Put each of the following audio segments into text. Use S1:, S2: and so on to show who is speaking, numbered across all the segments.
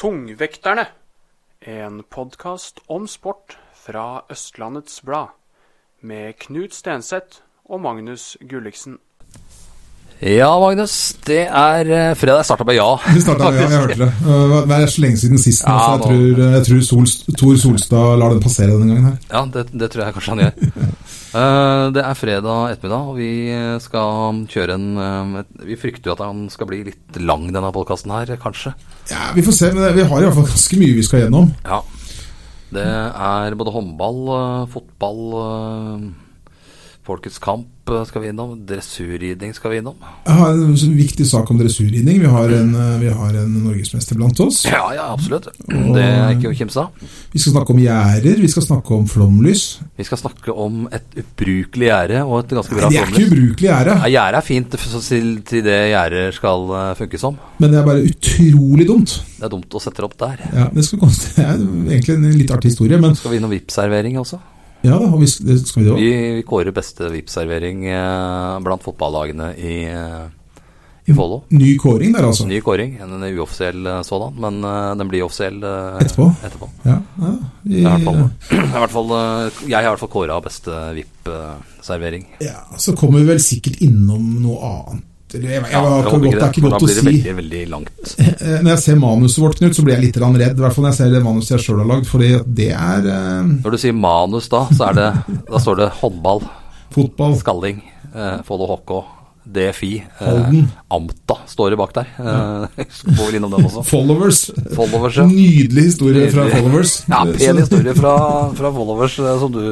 S1: Tungvekterne, en podkast om sport fra Østlandets Blad, med Knut Stenseth og Magnus Gulliksen.
S2: Ja, Magnus. Det er eh, fredag. Jeg starta med ja.
S3: Vi starta, ja, jeg hørte det. Uh, Det er så lenge siden sist, nå,
S2: Ja,
S3: så jeg
S2: nå-
S3: tror, eh, jeg tror Sol, Tor Solstad lar den passere denne gangen her.
S2: Ja, det, det tror jeg kanskje han gjør. Eh, det er fredag ettermiddag, og vi eh, skal kjøre en eh, et- Vi frykter jo at han skal bli litt lang, denne podkasten her, kanskje.
S3: Ja, vi får se, men det- vi har i hvert fall ganske mye vi skal gjennom.
S2: Ja. Det er både håndball, eh, fotball, eh, Folkets kamp eh, skal vi innom. Dressurridning skal vi innom.
S3: Jeg har en sånn viktig sak om dressurridning. Vi har en, uh, vi har en norgesmester blant oss.
S2: Ja, ja, absolutt. Det er ikke å kimse av.
S3: Vi skal snakke om gjerder, vi skal snakke om flomlys.
S2: Vi skal snakke om et ubrukelig gjerde og et ganske
S3: Nei,
S2: bra
S3: det er ikke
S2: flomlys.
S3: ubrukelig
S2: Ja,
S3: gjerde,
S2: Gjerde er fint f- så til, til det gjerdet skal eh, funke som.
S3: men det er bare utrolig dumt.
S2: Det er dumt å sette det opp der.
S3: Ja, det, skal komme, det er egentlig en litt artig historie, men
S2: Skal vi innom VIP-servering også?
S3: ja da, og vi, det skal vi det
S2: Vi,
S3: også.
S2: vi kårer beste VIP-servering eh, blant fotballagene i, eh, i Follo.
S3: Ny kåring der, altså.
S2: Ny kåring, en en uoffisiell eh, sådan, men eh, den blir offisiell eh,
S3: Etterpå.
S2: etterpå.
S3: Ja, ja, vi,
S2: Det er i hvert fall, det er i hvert fall, eh, jeg har i hvert fall kåra beste VIP-servering.
S3: Ja, så kommer vi vel sikkert innom noe annet. Eller, jeg, jeg, jeg,
S2: håper
S3: det, det er ikke
S2: for
S3: godt å
S2: Da blir
S3: si.
S2: det veldig, veldig langt.
S3: Eh, Når jeg ser manuset vårt, Knut, så blir jeg litt grann redd. I hvert fall når jeg ser det manuset jeg sjøl har lagd, fordi det er eh,
S2: Når du sier manus da, så er det Da står det håndball,
S3: fotball.
S2: skalling, eh, Follo HK, DFI. Eh,
S3: Halden.
S2: Amta står det bak der. Eh, skal gå vel innom den også.
S3: Followers.
S2: Followers, ja.
S3: Nydelig historie fra
S2: Nydelig.
S3: Followers.
S2: Ja,
S3: Så-
S2: pen historie fra, fra followers eh, som du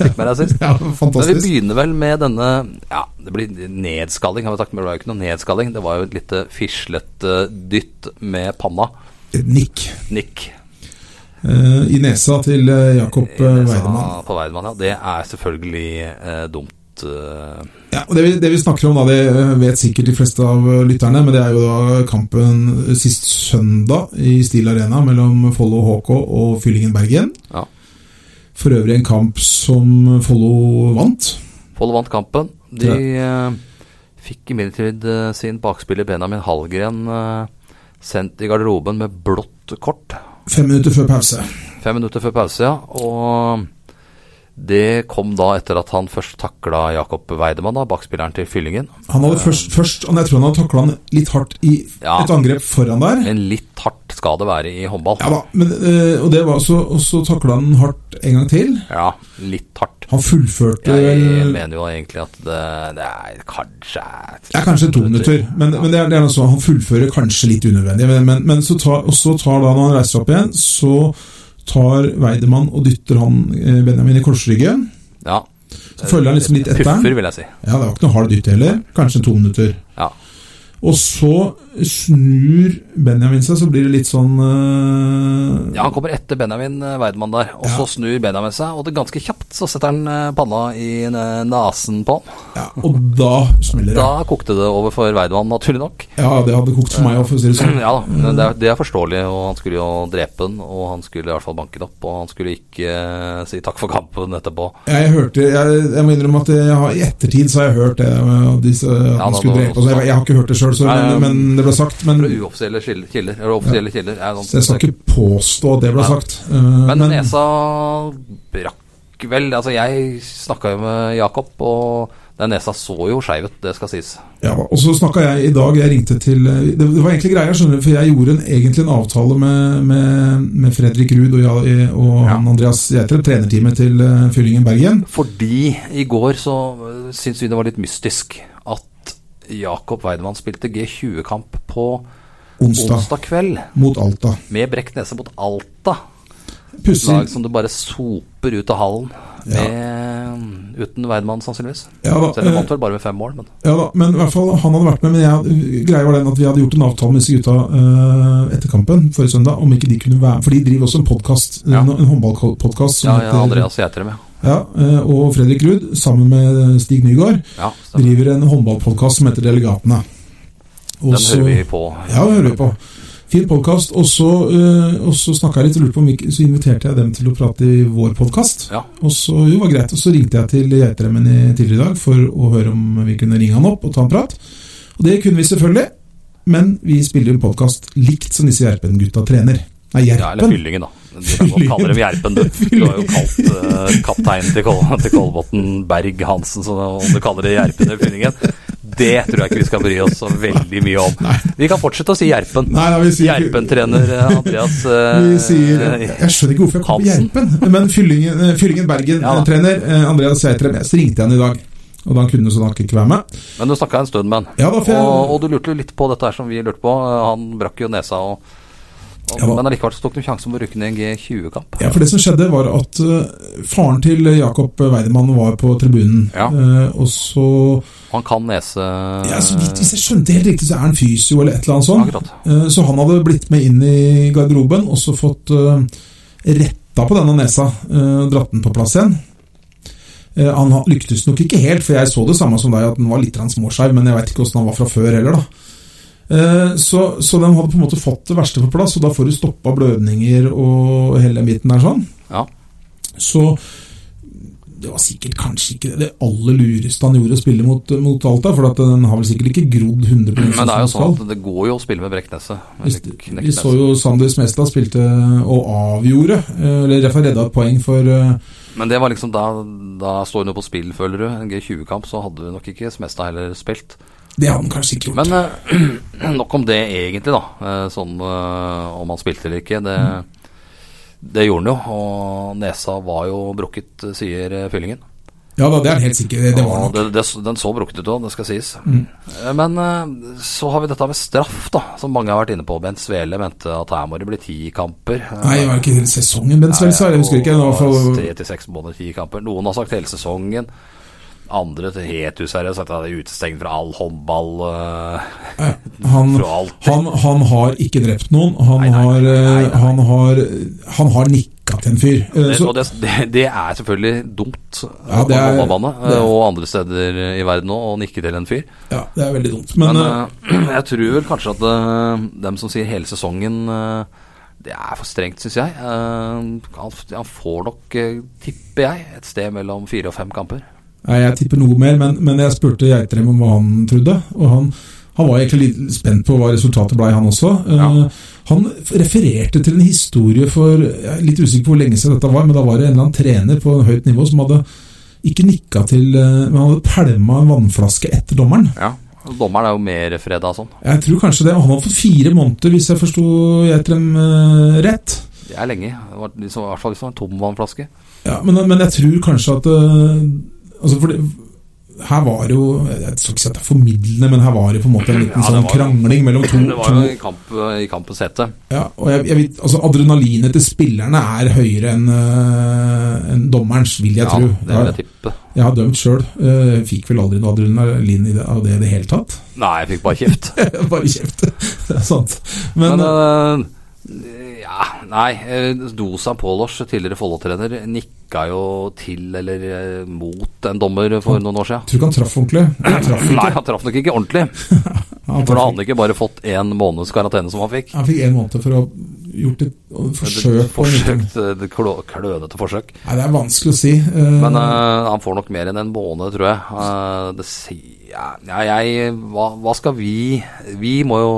S2: fikk med deg sist.
S3: Ja,
S2: Men vi
S3: fantastisk.
S2: begynner vel med denne Ja, det blir nedskalling, har vi sagt, men det var jo ikke noe nedskalling. Det var jo et lite fislete dytt med panna.
S3: Et nikk
S2: Nikk.
S3: eh, i nesa til eh, Jakob eh, Weidemann.
S2: På Weidemann, ja. Det er selvfølgelig eh, dumt. eh.
S3: Ja, og det vi, det vi snakker om da, det eh, vet sikkert de fleste av eh, lytterne, men det er jo da kampen sist søndag i Stil Arena mellom Follo HK og Fyllingen Bergen.
S2: Ja.
S3: For øvrig en kamp som Follo vant.
S2: Follo vant kampen. De eh, fikk imidlertid eh, sin bakspiller Benjamin Hallgren eh, sendt i garderoben med blått kort.
S3: Fem minutter før pause.
S2: Fem minutter før pause, ja. Og det kom da etter at han først takla Jakob Weidemann, da, bakspilleren til Fyllingen.
S3: Han hadde først, først og Jeg tror han hadde takla han litt hardt i
S2: Ja.
S3: et angrep foran der.
S2: Men litt hardt skal det være i håndball.
S3: Ja da, men, eh, og det var så, og så takla han hardt en gang til.
S2: Ja, litt hardt.
S3: Han fullførte
S2: Jeg
S3: vel
S2: mener jo egentlig at det, det er kanskje
S3: Det er kanskje to minutter, men, men det er, det er noe sånn, han fullfører kanskje litt unødvendig. Men, men, men så tar, og så tar da, når han reiser opp igjen, så tar Weidemann og dytter han eh, Benjamin i korsryggen.
S2: Ja.
S3: Så følger han liksom litt etter.
S2: Puffer, vil jeg si.
S3: Ja, det var ikke noe hard dytt heller. Kanskje to minutter.
S2: Ja.
S3: Og så snur Benjamin seg, så blir det litt sånn eh,
S2: Ja, Han kommer etter Benjamin eh, Weidemann der, og så snur Benjamin seg, og det ganske kjapt så setter han eh, panna i eh, nesen på han.
S3: ja, Og da smeller det.
S2: Da kokte det over for Weidemann, naturlig nok.
S3: Ja, det hadde kokt for meg òg, for å si det sånn.
S2: Ja da, men det er, det er forståelig, og han skulle jo drepe den, og han skulle i hvert fall banke den opp, og han skulle ikke eh, si takk for kampen etterpå.
S3: Jeg hørte, jeg, jeg må innrømme at jeg har, i ettertid så har jeg hørt det med at disse, at han
S2: da,
S3: skulle
S2: da-
S3: drepe oss. Jeg, jeg har ikke hørt det sjøl,
S2: Nei,
S3: men, men det ble sagt. Men,
S2: Fra uoffisielle skil- kilder. Eller offisielle kilder. er sånn-
S3: Mm. så jeg skal ikke påstå at det ble
S2: Nei.
S3: sagt. Eh,
S2: Men
S3: men-
S2: nesa brakk vel Altså, jeg snakka jo med Jakob, og den nesa så jo skeiv ut, det skal sies.
S3: Ja, og så snakka jeg i dag, jeg ringte til eh, det, det var egentlig greia, skjønner du, for jeg gjorde en, egentlig en avtale med, med, med Fredrik Ruud og, jeg, og han Andreas Gjetre, trenerteamet til eh, Fyllingen Bergen.
S2: Fordi i går så øh, syns vi det var litt mystisk at Jakob Weidemann spilte G20-kamp på
S3: Onsdag.
S2: onsdag kveld
S3: Mot Alta.
S2: med brekt nese mot Alta.
S3: Pussig.
S2: sånn lag som du bare soper ut av hallen med eh, uten Weidmann, sannsynligvis.
S3: Ja da,
S2: Selv om han
S3: eh,
S2: vant vel bare med fem mål, men
S3: ja da, men i hvert fall han hadde vært med. Men jeg, greia var den at vi hadde gjort en avtale med disse gutta eh, etter kampen forrige søndag. Om ikke de kunne være For de driver også en podkast,
S2: Ja.
S3: en, en håndballpodkast.
S2: ja, ja, Andreas Gjetrem, ja.
S3: ja, eh, og Fredrik Ruud, sammen med Stig Nygaard,
S2: ja stemmer.
S3: driver en håndballpodkast som heter Delegatene. Og
S2: Den
S3: så-
S2: hører vi på.
S3: Ja, det hører vi på. Fin podkast. Og så, eh, og så snakka jeg litt, og lurte på om ikke, så inviterte jeg dem til å prate i vår podkast.
S2: Ja.
S3: Og så jo, var greit, og så ringte jeg til Geitremmen i- tidligere i dag for å høre om vi kunne ringe han opp og ta en prat. Og det kunne vi selvfølgelig, men vi spiller jo en podkast likt som disse Gjerpen-gutta trener. Nei,
S2: Ja, eller
S3: Gjerpen.
S2: Fyllingen, da. Du kan godt kalle dem Gjerpen, du. Du har jo kalt eh, kapteinen til, Kol til Kolbotn Berg Hansen, så om du kaller det Gjerpen eller Fyllingen, det tror jeg ikke vi skal bry oss så veldig mye om. Vi kan fortsette å si Gjerpen.
S3: Nei, nei, vi sier
S2: Gjerpen-trener eh, Andreas eh,
S3: Vi sier, jeg skjønner ikke hvorfor jeg kom på
S2: Hansen.
S3: Gjerpen, men Fyllingen, eh, fyllingen
S2: Ja.
S3: Bergen-trener Andreas Geitrem, jeg- så ringte jeg han i dag. Og da kunne så han ikke være med.
S2: Men du snakka en stund med han.
S3: Ja, da, for jeg-
S2: og, og du lurte jo litt på dette her som vi lurte på. Eh, Han brakk jo nesa og, og
S3: Ja, da.
S2: Men allikevel så tok du sjansen på å rykke ned en G20-kamp.
S3: Ja, for det som skjedde var at eh, faren til Jakob Weidemann var på tribunen.
S2: Ja.
S3: Eh, og så,
S2: Han kan nese
S3: ja, så vidt, Hvis jeg skjønte helt riktig, så er han fysio eller et eller annet sånt.
S2: Akkurat.
S3: Eh, så han hadde blitt med inn i garderoben og så fått eh, retta på denne nesa. eh, dratt den på plass igjen. Eh, han ha- lyktes nok ikke helt, for jeg så det samme som deg, at den var litt grann småskeiv, men jeg veit ikke åssen han var fra før heller, da. Eh, Så, så de hadde på en måte fått det verste på plass, og da får du stoppa blødninger og hele den biten der sånn.
S2: Ja.
S3: Så det var sikkert kanskje ikke det aller lureste han gjorde å spille mot, mot Alta, for at den har vel sikkert ikke grodd 100
S2: Men det er jo
S3: som
S2: sånn
S3: den
S2: at det går jo å spille med brekknese.
S3: Hvis-
S2: Eller
S3: skal. Vi så
S2: knekknese.
S3: jo Sander Smestad spilte og avgjorde, eh, eller i hvert fall redda et poeng for eh,
S2: Men det var liksom da, da står det noe på spill, føler du. En G20-kamp, så hadde du nok ikke Smestad heller spilt.
S3: Det hadde han kanskje ikke gjort.
S2: Men eh, nok om det egentlig, da. Eh, Sånn eh, om han spilte eller ikke. Det, det gjorde han jo. Og nesa var jo brukket, sier eh, fyllingen.
S3: Ja da, det er han helt sikker Det var
S2: Og
S3: nok. Mm.
S2: det, det, den så brukket ut òg, det skal sies. Eh, Men eh, så har vi dette med straff, da. Som mange har vært inne på. Bent Svele mente at her må det bli ti kamper. Eh,
S3: Nei, det var ikke hele sesongen Bent Svelsa, jeg husker ikke. Det var i hvert fall-
S2: altså, Tre til seks måneder, ti kamper. Noen har sagt hele sesongen. Andre til helt useriøst at han er utestengt fra all håndball. eh,
S3: han,
S2: Fra alt.
S3: han, han har ikke drept noen. Han
S2: Nei, nei,
S3: har, eh,
S2: nei, nei.
S3: han har, han har nikka til en fyr. Eh,
S2: Det,
S3: så-
S2: og det, det- det er selvfølgelig dumt
S3: Ja,
S2: ja,
S3: det er-
S2: på håndballbane
S3: det er-
S2: eh, og andre steder i verden òg å nikke til en fyr.
S3: Ja, det er veldig dumt.
S2: Men
S3: Men, eh,
S2: eh, jeg tror vel kanskje at eh, dem som sier hele sesongen eh, Det er for strengt, syns jeg. Eh, han, han får nok, eh, tipper jeg, et sted mellom fire og fem kamper.
S3: Nei, jeg tipper noe mer, men, men jeg spurte Geitrem om hva han trodde. Og han, han var egentlig litt spent på hva resultatet blei, han også. Eh,
S2: Ja.
S3: han f- refererte til en historie for Jeg er litt usikker på hvor lenge siden dette var, men da var det en eller annen trener på høyt nivå som hadde ikke nikka til eh, Men han hadde pælma en vannflaske etter dommeren.
S2: Dommeren er jo mer freda sånn.
S3: Jeg tror kanskje det. Og han hadde fått fire måneder, hvis jeg forsto Geitrem eh, rett.
S2: Det er lenge. Det var, de som- I hvert fall hvis det var en tom vannflaske.
S3: Ja, men, men jeg tror kanskje at eh, altså for det, Her var det jo Jeg skal ikke si at det er formidlende, men her var det på en måte en liten
S2: Ja, det
S3: sånn
S2: var det.
S3: krangling mellom to,
S2: Det var
S3: to
S2: jo i, kamp, i kampens hete.
S3: ja, og jeg, jeg, vet- altså Adrenalinet til spillerne er høyere enn eh, enn dommerens, vil jeg
S2: Ja,
S3: tro.
S2: det vil jeg
S3: Jeg,
S2: tippe.
S3: jeg har dømt sjøl. Fikk vel aldri noe adrenalin i det, av det i det hele tatt.
S2: Nei, jeg fikk bare kjeft.
S3: Bare kjeft. Det er sant. Men, eh,
S2: Men eh, ja, nei. eh, Dusan Polos, tidligere Follo-trener, nikka jo til eller eh, mot en dommer for noen år siden.
S3: jeg tror ikke han traff ordentlig. Han traff ikke.
S2: Nei, han traff nok ikke ordentlig. For da
S3: Han, traff
S2: hadde han ikke bare fått én måneds karantene som han fikk.
S3: ikke. han fikk en måned for å ha gjort et forsøk. på en liten-
S2: Forsøkt, eh, det klå- klønete forsøk.
S3: Nei, det er vanskelig å si. eh,
S2: Men eh, han får nok mer enn en måned, tror jeg. Eh, det sier ja, jeg hva, hva skal vi Vi må jo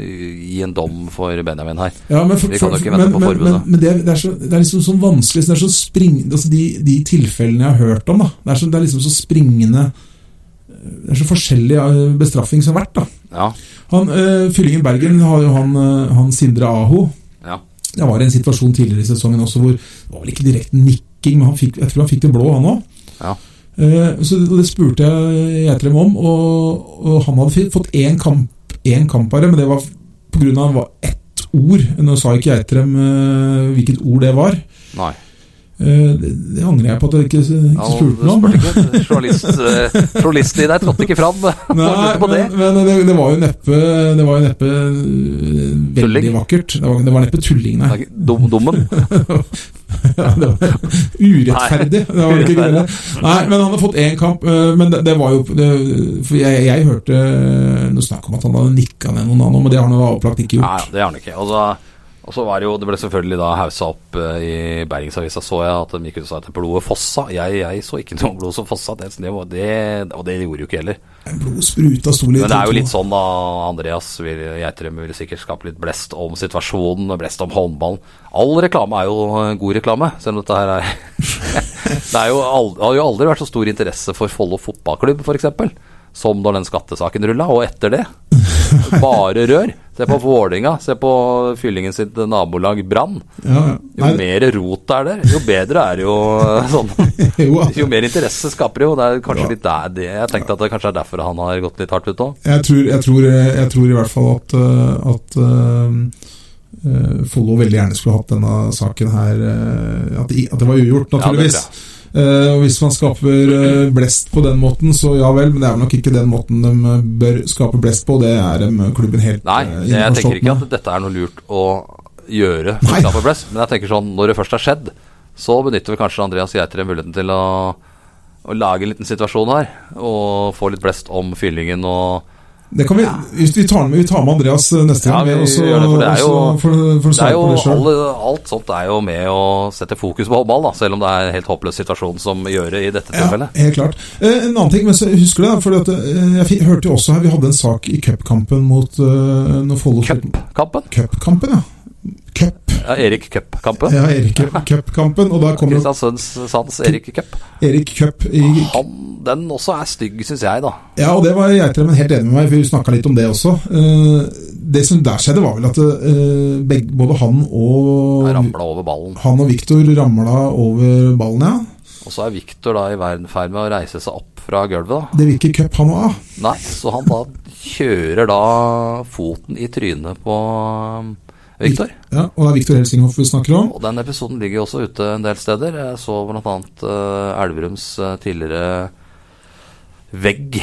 S2: gi en dom for Benjamin her.
S3: Ja, men for,
S2: Vi kan jo ikke
S3: for-
S2: vente
S3: men,
S2: på
S3: men,
S2: forbudet.
S3: Men, men det, det, er så, det er liksom sånn vanskelig så Det er så spring, altså de, de tilfellene jeg har hørt om, da, det, er så, det er liksom så springende Det er så forskjellig eh, bestraffing som har vært. da
S2: Ja.
S3: han, eh, Fyllingen Bergen har jo han, eh, han Sindre Aho.
S2: ja.
S3: Det var en situasjon tidligere i sesongen også hvor det var vel ikke direkte nikking, men han fikk, jeg tror han fikk det blå, han òg.
S2: Ja.
S3: Så det, det spurte jeg Geitrem om, og, og han hadde fi- fått én kamp, én kamp bare, men det var pga. han var ett ord. Nå sa ikke Geitrem eh, hvilket ord det var.
S2: Nei.
S3: Eh, Det det angrer jeg på at jeg ikke, ikke spurte
S2: Ja,
S3: om.
S2: du spurte ikke. Journalist, eh, journalisten i deg trådte ikke fram. Lurte på det.
S3: men, men det, det var jo neppe Det var jo neppe eh, veldig
S2: Tulling?
S3: vakkert. Det var, det var neppe tulling, nei.
S2: Dum, dummen.
S3: Ja, det var urettferdig. Det var vel ikke greia. Nei, men han har fått én kamp. øh, Men det, det var jo det, For jeg, jeg hørte øh, noe snakk om at han hadde nikka ned noen annen, men det har han jo opplagt ikke
S2: Nei,
S3: gjort.
S2: det gjør han ikke. Og så- og så var det jo Det ble selvfølgelig da haussa opp eh, i Bergensavisa, så jeg, at de gikk ut og sa at blodet fossa. Jeg, jeg så ikke noe blod som fossa, det, det, var- det, og det gjorde jo ikke heller.
S3: Blod spruta sto litt
S2: Men det er jo
S3: utover.
S2: litt sånn da, Andreas vil, Geitrem vil sikkert skape litt blest om situasjonen, og blest om håndballen. All reklame er jo eh, god reklame, selv om dette her er Det er jo aldri, har jo aldri vært så stor interesse for Follo fotballklubb, f.eks., som da den skattesaken rulla, og etter det. Bare rør. Se på Vålinga, se på fyllingen sitt nabolag Brann.
S3: Ja, ja.
S2: Jo
S3: Nei,
S2: mer rot det er der, jo bedre er det jo eh, sånn.
S3: jo, at-
S2: Jo mer interesse skaper det jo. Det er kanskje
S3: Ja.
S2: litt der det Jeg tenkte at det kanskje er derfor han har gått litt hardt ut nå.
S3: jeg, tror, jeg, tror, jeg tror i hvert fall at, øh, at øh, øh, Follo veldig gjerne skulle hatt denne saken her øh, At, i- at det var
S2: Ja,
S3: ugjort,
S2: det tror
S3: naturligvis.
S2: jeg.
S3: Eh, og Hvis man skaper eh, blest på den måten, så ja vel, men det er nok ikke den måten de eh, bør skape blest på. Det er eh, klubben helt
S2: Nei,
S3: eh,
S2: det, jeg tenker
S3: innforstått
S2: ikke
S3: med.
S2: at dette er noe lurt å gjøre.
S3: Nei.
S2: for Example Press, Men jeg tenker sånn, når det først har skjedd, så benytter vel kanskje Andreas Geitre muligheten til å, å lage en liten situasjon her. Og få litt blest om fyllingen og
S3: Det kan vi, hvis vi, tar med, vi tar med Andreas eh, neste
S2: Ja,
S3: gang,
S2: vi
S3: vi, også,
S2: gjør det, for det er jo-
S3: også for, for å
S2: det er
S3: svare
S2: jo,
S3: på det sjøl.
S2: alle, Alt sånt er jo med å sette fokus på håndball, da, selv om det er en helt håpløs situasjon som gjør det i dette
S3: Ja,
S2: tilfellet.
S3: helt klart. Eh, en annen ting, men så husker du det? Fordi at, eh, jeg fi- hørte jo også her Vi hadde en sak i cupkampen mot eh, når Follo
S2: Cupkampen.
S3: Cupkampen, ja. Cup.
S2: Ja, Erik Cupkampen.
S3: Ja, Erik Cupkampen. Og da kom jo
S2: Kristiansunds Erik Cup.
S3: Erik Cup i
S2: Han, den også er stygg, syns jeg, da.
S3: Ja, og det var Geitrem helt enig med meg, for vi snakka litt om det også. Eh, Det som der skjedde, var vel at eh, begge, både han og
S2: Ramla over ballen.
S3: han og Viktor ramla over ballen, ja.
S2: Og så er Viktor da i verden ferd med å reise seg opp fra gulvet, da.
S3: Det virker cup, han òg.
S2: Nei, så han da kjører da foten i trynet på um, Viktor.
S3: Ja, og det er Viktor Helsinghoff vi snakker om.
S2: Og den episoden ligger jo også ute en del steder. Jeg så bl.a. Uh, Elverums eh, tidligere vegg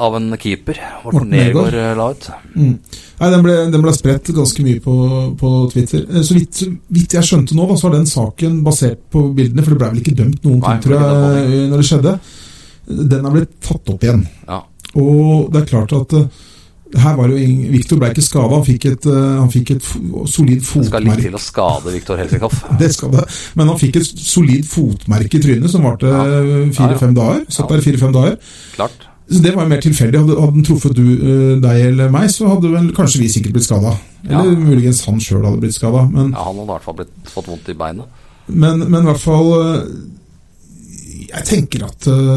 S2: av en keeper. Morten
S3: Morten Nergård.
S2: Nergård eh, la ut.
S3: Mm. Nei, Den ble, den ble spredt ganske mye på, på Twitter. Eh, Så vidt, så vidt jeg skjønte nå, da, så var den saken basert på bildene, for det ble vel ikke dømt noen
S2: Nei, det ble
S3: ting, tror
S2: ikke dømt
S3: jeg, når det skjedde. Den er blitt tatt opp igjen.
S2: Ja.
S3: Og det er klart at eh, her var jo ing- Victor ble ikke skada, han fikk et, eh, han fikk et fo- solid
S2: Det skal litt
S3: fotmerke.
S2: til å skade Viktor Helsinghoff.
S3: Det skal det. Men han fikk et solid fotmerke i trynet som varte
S2: Ja.
S3: eh,
S2: Ja,
S3: fire-fem dager. Satt der i fire-fem dager.
S2: Klart.
S3: Så det var jo mer tilfeldig. Hadde, hadde den truffet du, eh, deg eller meg, så hadde vel kanskje vi sikkert blitt skada. Eller
S2: Ja.
S3: muligens han sjøl hadde blitt skada. Men,
S2: Ja, han hadde i hvert fall blitt, fått vondt i beinet.
S3: men, men i hvert fall eh, Jeg tenker at eh,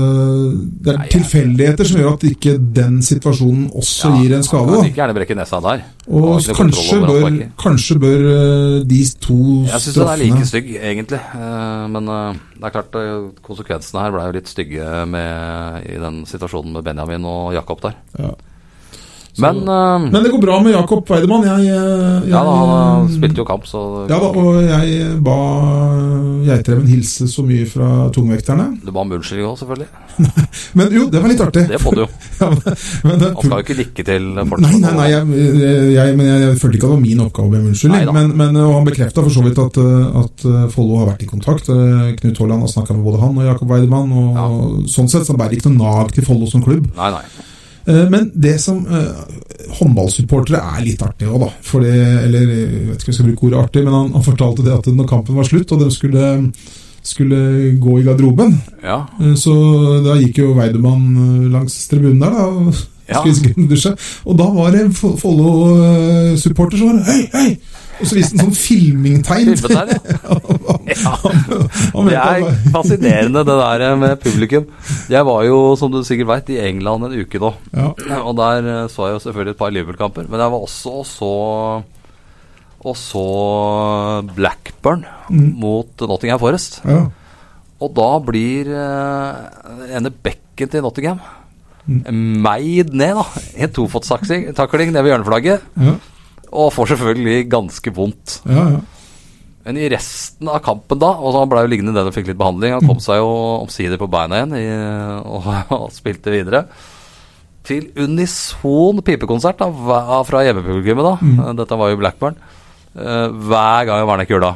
S3: det er
S2: Nei, jeg-
S3: tilfeldigheter som gjør at ikke den situasjonen også
S2: Ja,
S3: gir en
S2: Han
S3: skade. da.
S2: kan like gjerne brekke nesa der. Han har
S3: Og
S2: ikke noe
S3: kanskje
S2: kontroll over
S3: bør,
S2: håndverket.
S3: kanskje bør eh, de to
S2: Jeg syns den er like stygg, egentlig. Eh, Men eh, det er klart eh, konsekvensene her ble jo litt stygge med, i den situasjonen med Benjamin og Jakob der.
S3: Ja.
S2: Men eh,
S3: Men det går bra med Jakob Weidemann. Jeg, eh, jeg,
S2: ja, da, han eh, spilte jo kamp, så
S3: Ja da, og jeg ba Geitreven hilse så mye fra tungvekterne.
S2: du ba om unnskyldning òg, selvfølgelig.
S3: Men jo, det var litt artig.
S2: Det må du jo.
S3: Ja, men, men det,
S2: Han skal jo ikke nikke til folk.
S3: Nei,
S2: som-
S3: nei, nei jeg, jeg, men jeg, jeg følte ikke at det var min oppgave å be om
S2: Nei
S3: unnskyldning.
S2: da.
S3: Men, men, og han bekrefta for så vidt at, eh, at eh, Follo har vært i kontakt. Eh, Knut Haaland har snakka med både han og Jakob Weidemann. Og,
S2: Ja.
S3: og Sånn sett så bærer ikke noe nag til Follo som klubb.
S2: Nei, nei.
S3: Eh, Men det som eh, håndballsupportere er litt artig òg, da. For det, eller jeg vet ikke om jeg skal bruke ordet artig, men han, han fortalte det at når kampen var slutt, og de skulle, skulle gå i garderoben,
S2: Ja.
S3: eh, så da gikk jo Weidemann eh, langs tribunen der, da. og
S2: Ja.
S3: Skulle sikkert dusje. Og da var det en Fo- Follo-supporter som var Hei, hei! Og så viste han sånn filmingtegn.
S2: Filmet der, ja. ja. Det
S3: Han mente at
S2: er fascinerende, det der eh, med publikum. Jeg var jo, som du sikkert veit, i England en uke nå.
S3: ja,
S2: Og der eh, så jeg jo selvfølgelig et par Liverpool-kamper, men jeg var også og så og så Blackburn mot Nottingham Forest.
S3: ja,
S2: Og da blir eh, ene bekken til Nottingham meid ned, da. I en tofotstakling ned ved hjørneflagget.
S3: ja,
S2: Og får selvfølgelig ganske vondt.
S3: ja, ja.
S2: Men i resten av kampen da, og så han ble jo liggende der og fikk litt behandling, han kom
S3: Mm.
S2: seg jo omsider på beina igjen i, og, og spilte videre. Til unison pipekonsert da, hva- fra hjemmepublikummet da,
S3: Mm.
S2: dette var jo Blackburn, Eh, hver gang Werner Kjøla.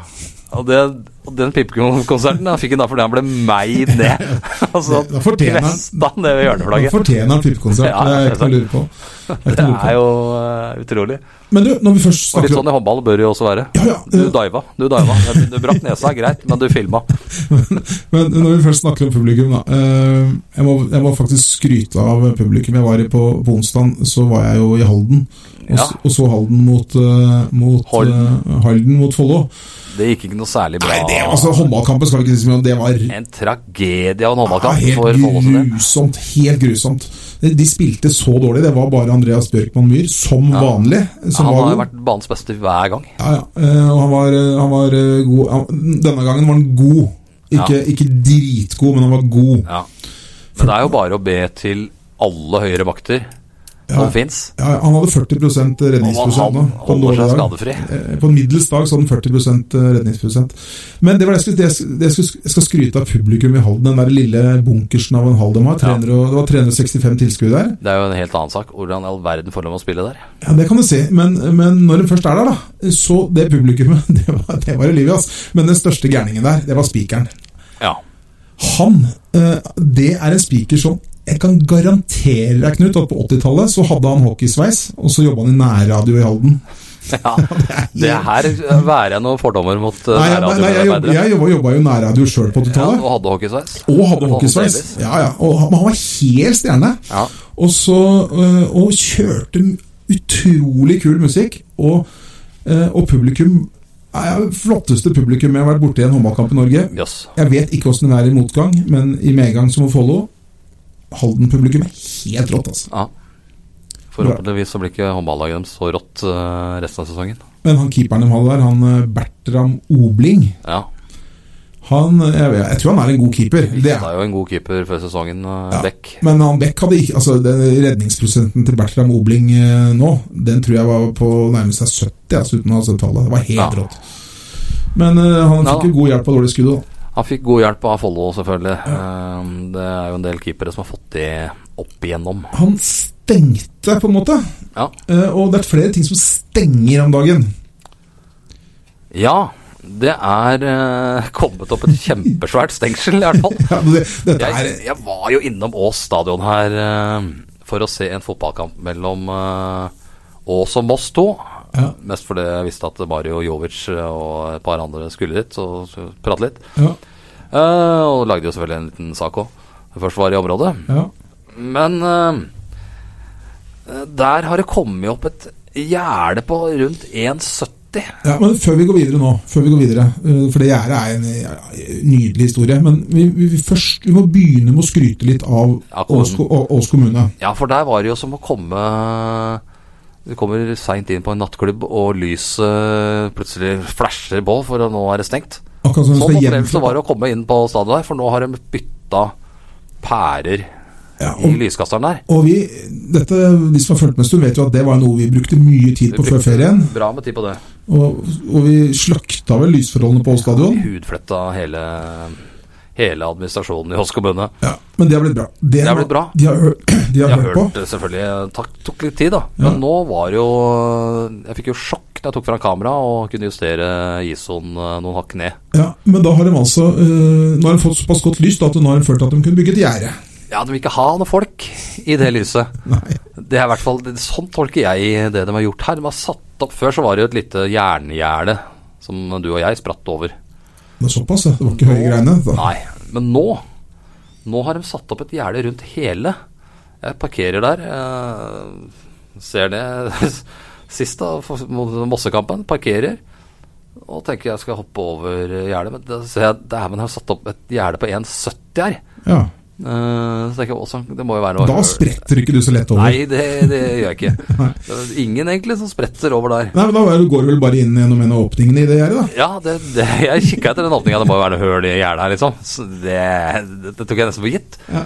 S2: Og, det, og den pipekonserten han fikk han da fordi han ble meid ned. altså,
S3: Da fortjener han-
S2: kvesta han ned ved
S3: Han
S2: hjørneflagget.
S3: fortjener en pipekonsert,
S2: Ja,
S3: det er ikke noe å lure på. Det er ikke
S2: Det
S3: noe å lure
S2: er jo eh, utrolig.
S3: på. Men du, når vi først
S2: Og litt
S3: snakker om
S2: sånn i håndball bør det jo også være.
S3: Ja, ja,
S2: Du
S3: eh,
S2: diva. Du diva. Du brakk nesa, greit, men du filma.
S3: Men når vi først snakker om publikum, da. eh, Jeg må, jeg må faktisk skryte av publikum. Jeg var i på, på onsdag, så var jeg jo i Halden. Og, s-
S2: Ja.
S3: og så Halden mot, eh, mot
S2: Halden.
S3: eh, Halden mot Follo.
S2: Det gikk ikke noe særlig bra.
S3: Nei, det, altså, håndballkampen skal vi ikke si så mye om. Det var
S2: En tragedie av en
S3: Ja,
S2: håndballkamp
S3: Ah, helt
S2: for Follo sin del.
S3: grusomt. Helt grusomt. De spilte så dårlig. Det var bare Andreas Bjørkman Myhr, som vanlig, som
S2: Han
S3: var
S2: har jo
S3: god.
S2: vært banens beste hver gang.
S3: Ja, ja. Eh, Og han var, eh, han var eh, god Han- Denne gangen var han god. Ikke,
S2: Ja.
S3: ikke dritgod, men han var god.
S2: Ja. Men det er jo bare å be til alle høyere makter som
S3: Ja.
S2: fins.
S3: Ja, han hadde 40
S2: Om han
S3: redningsprosent. nå, på en
S2: holder seg
S3: dårlig dag.
S2: skadefri.
S3: Eh, På en middels dag så hadde han 40 redningsprosent. Men det var det jeg, skulle, det jeg, skulle, det jeg, skulle, jeg skal skryte av publikum i Halden. Den der lille bunkersen av en hall de har. 300, og- Det var 365 tilskuere der.
S2: Det er jo en helt annen sak. Hvordan i all verden får de å spille der?
S3: Ja, Det kan du si, men, men når de først er der, da Så det publikummet, det var, det var i livet, altså. Men den største gærningen der, det var spikeren.
S2: Ja.
S3: Han, eh, det er en spiker som jeg kan garantere deg, Knut, at på 80-tallet så hadde han hockeysveis, og så jobba han i nærradio i Halden.
S2: ja. Det her værer jeg noen fordommer mot eh,
S3: Nei, jeg, nei, nei, jeg, jobb-
S2: nærradiomedarbeidere.
S3: jeg jobba, jobba jo nærradio sjøl på
S2: Ja, og
S3: 80-tallet.
S2: hadde hockeysveis.
S3: Og hadde
S2: Holden
S3: hockeysveis.
S2: Davis.
S3: Ja, ja. Og han, men han var helt stjerne.
S2: Ja.
S3: Og, så, øh, og kjørte m- utrolig kul musikk. Og, øh, og publikum er det flotteste publikum jeg har vært borti i en håndballkamp i Norge.
S2: Jøss.
S3: Jeg vet ikke åssen den er i motgang, men i medgang som må Follo Halden-publikum er helt rått, altså.
S2: Ja. Forhåpentligvis så blir ikke håndballaget deres så rått eh, resten av sesongen.
S3: Men han keeperen de hadde der, han øh, Bertram Obling
S2: Ja.
S3: han, øh, jeg, jeg tror han er en god keeper. Det
S2: Det
S3: er,
S2: er jo en god keeper før sesongen, eh,
S3: Ja.
S2: Beck.
S3: men han Beck hadde ikke altså, den Redningsprosenten til Bertram Obling øh, nå, den tror jeg var på nærmest seg 70 altså, uten å ha sett tallet. Det var helt
S2: Ja.
S3: rått. Men øh, han
S2: Ja
S3: fikk jo god hjelp av dårlig skudd òg.
S2: Han fikk god hjelp av Follo, selvfølgelig. Eh, Det er jo en del keepere som har fått det opp igjennom.
S3: Han stengte, på en måte.
S2: Ja.
S3: Eh, og det er flere ting som stenger om dagen.
S2: ja det er eh, kommet opp et kjempesvært stengsel, i hvert fall.
S3: Ja, det, dette
S2: Jeg,
S3: er
S2: jeg var jo innom Ås stadion her eh, for å se en fotballkamp mellom eh, Ås og Moss 2.
S3: Ja.
S2: Mest fordi jeg visste at Mario Jovic eh, og et par andre skulle dit og så prate litt.
S3: ja,
S2: Eh, og lagde jo selvfølgelig en liten sak òg. Først var i området.
S3: ja.
S2: Men eh, der har det kommet opp et gjerde på rundt 1,70.
S3: Ja, men før vi går videre nå, før vi går videre, eh, for det gjerdet er en eh, nydelig historie, men vi, vi, vi, først, vi må begynne med å skryte litt av
S2: Ja, kommunen.
S3: Ås, ko- Å- Ås kommune.
S2: Ja, for der var det jo som å komme Du kommer seint inn på en nattklubb, og lyset plutselig flasher på, for nå er det stengt.
S3: Akkurat
S2: Sånn
S3: som hun skal hjem
S2: opplevelse
S3: fra-
S2: var det å komme inn på stadion der, for nå har de bytta pærer
S3: ja,
S2: i
S3: og,
S2: lyskasteren der.
S3: og vi, dette, de som har fulgt med en stund, vet jo at det var noe vi brukte mye tid
S2: Vi
S3: på før
S2: brukte
S3: ferien.
S2: Bra med tid på det.
S3: Og, og vi slakta vel lysforholdene på Ås stadion.
S2: Hudfletta hele, hele administrasjonen i Ås kommune.
S3: Ja, men det har blitt bra. Det,
S2: har blitt bra.
S3: De har, hø- de har
S2: Jeg
S3: hørt på.
S2: hørte selvfølgelig takk, tok litt tid, da.
S3: Ja.
S2: Men nå var det jo Jeg fikk jo sjokk da jeg tok fram kameraet og kunne justere ISO-en eh, noen hakk ned.
S3: Ja, men da har de altså eh, Nå har de fått såpass godt lys da, at nå har de følt at de kunne bygge et gjerde.
S2: Ja, de vil ikke ha noen folk i det lyset.
S3: Nei.
S2: Det er i hvert fall, det- Sånn tolker jeg det de har gjort her. De har satt opp Før så var det jo et lite jerngjerde som du og jeg spratt over.
S3: Det er såpass, ja. Det var ikke høye greiene. Da.
S2: Nei, men nå Nå har de satt opp et gjerde rundt hele. Jeg parkerer der. eh, ser det sist, da, for- mot Mossekampen. Parkerer. Og tenker jeg skal hoppe over gjerdet, men da ser jeg dæven, jeg har satt opp et gjerde på 1,70 her.
S3: Ja.
S2: Eh, så tenker jeg også, det må jo være noe
S3: Da spretter ikke du så lett over.
S2: Nei,
S3: Nei,
S2: det, det gjør jeg ikke. Det er ingen egentlig som spretter over der.
S3: men Da er du- går du vel bare inn gjennom en av åpningene i det gjerdet, da.
S2: Ja, det, det, jeg kikka etter den åpninga. Det må jo være noe høl i gjerdet her, liksom. Så det, det, det tok jeg nesten for gitt.
S3: Ja.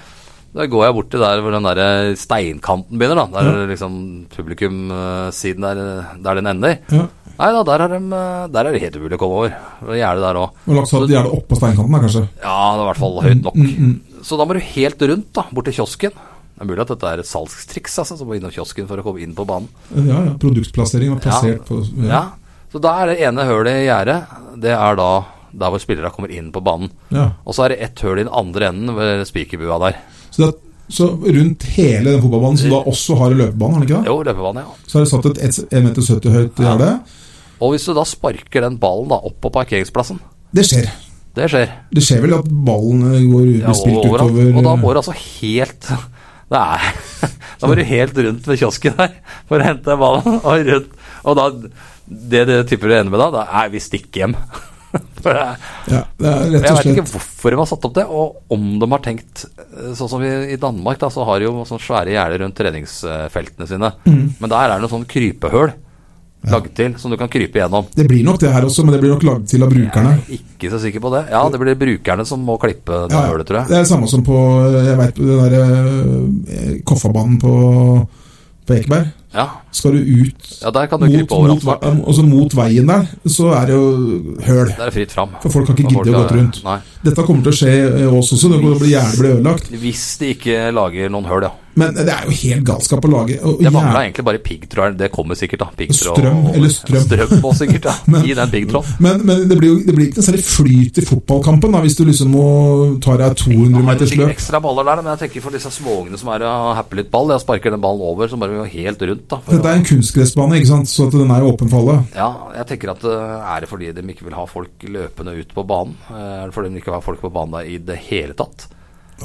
S2: Da går jeg bort til der eh, hvor den der steinkanten begynner, da. Der liksom publikumsiden der, der den ender.
S3: Ja.
S2: Nei da, der er, dem, eh, der er det helt umulig å komme over. Det er Gjerdet der òg.
S3: Og lagt sånn at gjerdet oppå steinkanten, da, kanskje.
S2: Ja, det er i hvert fall høyt nok.
S3: Mm, mm.
S2: Så da må du helt rundt, da, bort til kiosken. Det er mulig at dette er et salgstriks, altså, så må du innom kiosken for å komme inn på banen.
S3: Ja, ja. Produktplassering var plassert
S2: Ja.
S3: på
S2: Ja. Så da er det ene hølet i gjerdet, det er da der hvor spillerne kommer inn på banen.
S3: Ja.
S2: Og så er det ett høl i den andre enden ved spikerbua der.
S3: Så, det, er- så rundt hele den fotballbanen, som da også har en løpebane, har den ikke det?
S2: Jo, løpebane, ja.
S3: Så er det satt et 1,70 meter høyt gjerde.
S2: Og hvis du da sparker den ballen da opp på parkeringsplassen,
S3: Det skjer.
S2: det skjer.
S3: Det skjer vel at ballen eh, går blir
S2: Ja,
S3: spilt
S2: overalt.
S3: utover
S2: Og da må
S3: eh,
S2: du altså helt det er, Da må du helt rundt ved kiosken her for å hente ballen. Og rundt. Og da Det du tipper du ender med da, da er vi stikker hjem. For det er,
S3: ja, det er rett
S2: jeg
S3: og
S2: veit ikke
S3: slett
S2: hvorfor de har satt opp det, og om de har tenkt eh, Sånn som i, i Danmark, da, så har de jo sånne svære gjerder rundt treningsfeltene sine.
S3: Mm.
S2: Men der er det noe sånn krypehøl lagd til som du kan krype gjennom.
S3: Det blir nok det her også, men det blir nok lagd til av brukerne.
S2: Ikke så sikker på det. Ja, det blir brukerne som må klippe det
S3: Ja, ja.
S2: hølet, tror jeg.
S3: det er det samme som på eh, jeg vet, den der eh, Koffabanen på, på Ekeberg.
S2: Ja,
S3: Skal du ut
S2: ja der kan du
S3: mot,
S2: krype overalt.
S3: mot,
S2: snart.
S3: ve- altså mot veien der, så er det jo høl.
S2: Der er det fritt fram.
S3: For folk har ikke
S2: Og folk
S3: giddet å gå
S2: har-
S3: rundt.
S2: Nei.
S3: Dette kommer til å skje eh, oss også, det blir gjerdet blir ødelagt.
S2: Hvis de ikke lager noen høl, ja.
S3: Men det er jo helt galskap å lage og
S2: Det
S3: gjerde-
S2: mangla egentlig bare piggtråd. Det kommer sikkert, da. Piggtråd
S3: Strøm,
S2: og-
S3: eller strøm.
S2: Strøm også, sikkert. da
S3: Men-
S2: I den piggtråden.
S3: Men, men det, blir jo, det blir ikke noe særlig flyt i fotballkampen da, hvis du liksom må ta deg et 200
S2: Har
S3: meters
S2: sikkert
S3: løp.
S2: ekstra baller der, men jeg tenker for disse småungene som er og happer litt ball. Jeg sparker den ballen over, så bare vi går helt rundt, da. For
S3: Dette er
S2: å,
S3: en kunstgressbane, ikke sant? så at den er jo åpen for alle.
S2: ja, jeg tenker at eh, er det fordi de ikke vil ha folk løpende ut på banen? Eh, Er det fordi de ikke vil ha folk på banen der i det hele tatt?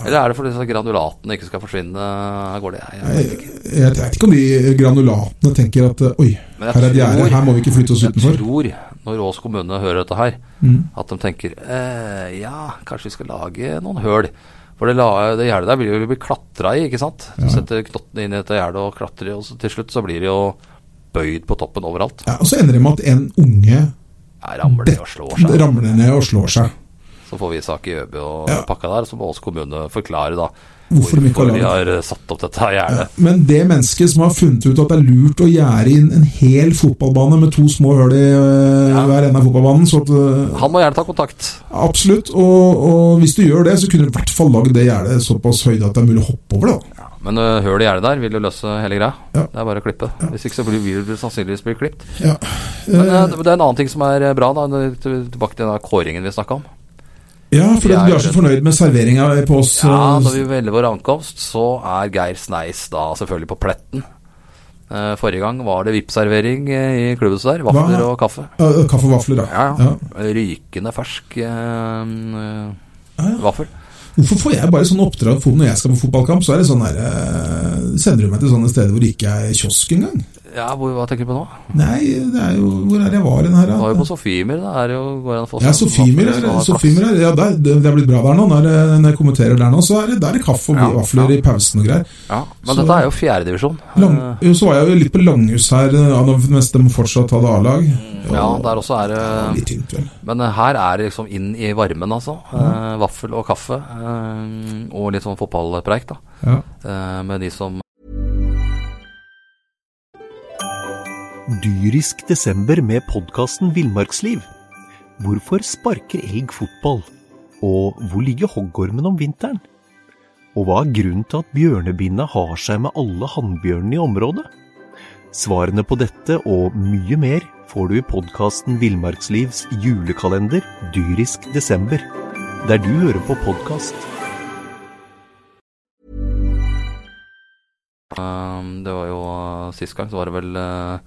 S2: Eller er det fordi disse granulatene ikke skal forsvinne av gårde? Jeg, jeg,
S3: Jeg, jeg vet ikke om de granulatene tenker at eh, oi,
S2: Men jeg
S3: her er et gjerde,
S2: tror-
S3: her må vi ikke flytte oss
S2: Jeg
S3: utenfor.
S2: tror, når Ås kommune hører dette her,
S3: Mm.
S2: at de tenker eh, ja, kanskje vi skal lage noen høl. For det, la, det gjerdet der vil jo bli klatra i, ikke sant. Du setter knottene inn i dette gjerdet og klatrer, i, og så til slutt så blir det jo bøyd på toppen overalt.
S3: Ja, og så ender det med at en unge
S2: Her ramler de og slår seg.
S3: ramler ned og slår seg.
S2: Så får vi sak i ØB og
S3: Ja.
S2: pakka der, så må Ås kommune forklare da
S3: Hvorfor de ikke har
S2: de
S3: laget-
S2: har eh, satt opp dette gjerdet.
S3: Men det mennesket som har funnet ut at det er lurt å gjerde inn en hel fotballbane med to små høl i eh,
S2: Ja.
S3: hver ende av fotballbanen, så at eh,
S2: Han må gjerne ta kontakt.
S3: Absolutt, og, og hvis du gjør det, så kunne du i hvert fall lagd det gjerdet såpass høyde at det er mulig å hoppe over det. da.
S2: Ja, men uh, høl i gjerdet der vil jo løse hele greia.
S3: Ja.
S2: Det er bare å klippe. Hvis ikke så blir vil det sannsynligvis bli klipt.
S3: Ja.
S2: Men eh,
S3: Eh,
S2: det det er en annen ting som er eh, bra, da, til- tilbake til den der kåringen vi snakka om.
S3: ja, for
S2: jeg
S3: vi
S2: er
S3: er så
S2: redd.
S3: fornøyd med serveringa på oss.
S2: Ja,
S3: eh,
S2: Når vi velger vår ankomst, så er Geir Sneis da selvfølgelig på Pletten. Eh, Forrige gang var det VIP-servering eh, i klubbhuset der. Vafler
S3: Hva?
S2: og kaffe.
S3: eh, Kaffe og vafler, da.
S2: Ja, ja.
S3: Ja.
S2: Rykende fersk eh, eh,
S3: ja.
S2: vaffel.
S3: Hvorfor får jeg bare sånne oppdrag for når jeg skal på fotballkamp? Så er det sånn der, eh, Sender du meg til sånne steder hvor det ikke er kiosk engang?
S2: Ja, hvor, hva tenker du på nå?
S3: Nei, det er jo Hvor er det jeg var hen her,
S2: Nå er vi
S3: da?
S2: på Sofiemyr. Da er det jo går det an å få seg
S3: Ja,
S2: en
S3: Sofimer
S2: vaffel,
S3: er,
S2: så har
S3: Sofimer er, ja, der, det det er blitt bra der nå. Når, jeg- når jeg kommenterer der nå, så er det, der er det kaffe og
S2: Ja,
S3: vafler
S2: ja.
S3: i pausen og greier.
S2: plass. Ja, men
S3: så-
S2: dette er jo Eh, fjerdedivisjon.
S3: Lang, jo, så var jeg jo litt på Langhus her, eh, ja, da- mens de fortsatt hadde A-lag.
S2: Mm. Ja, der også er det
S3: Litt tynt, vel.
S2: Men eh, her er det liksom inn i varmen, altså. Eh, vaffel og kaffe. eh, og litt sånn fotballpreik, da.
S3: Ja.
S2: Eh, med de som
S4: Dyrisk desember med podkasten Villmarksliv. Hvorfor sparker elg fotball? Og hvor ligger hoggormen om vinteren? Og hva er grunnen til at bjørnebinna har seg med alle hannbjørnene i området? Svarene på dette og mye mer får du i podkasten Villmarkslivs julekalender Dyrisk desember, der du hører på podkast.
S2: eh, Det var jo eh, sist gang, så var det vel eh,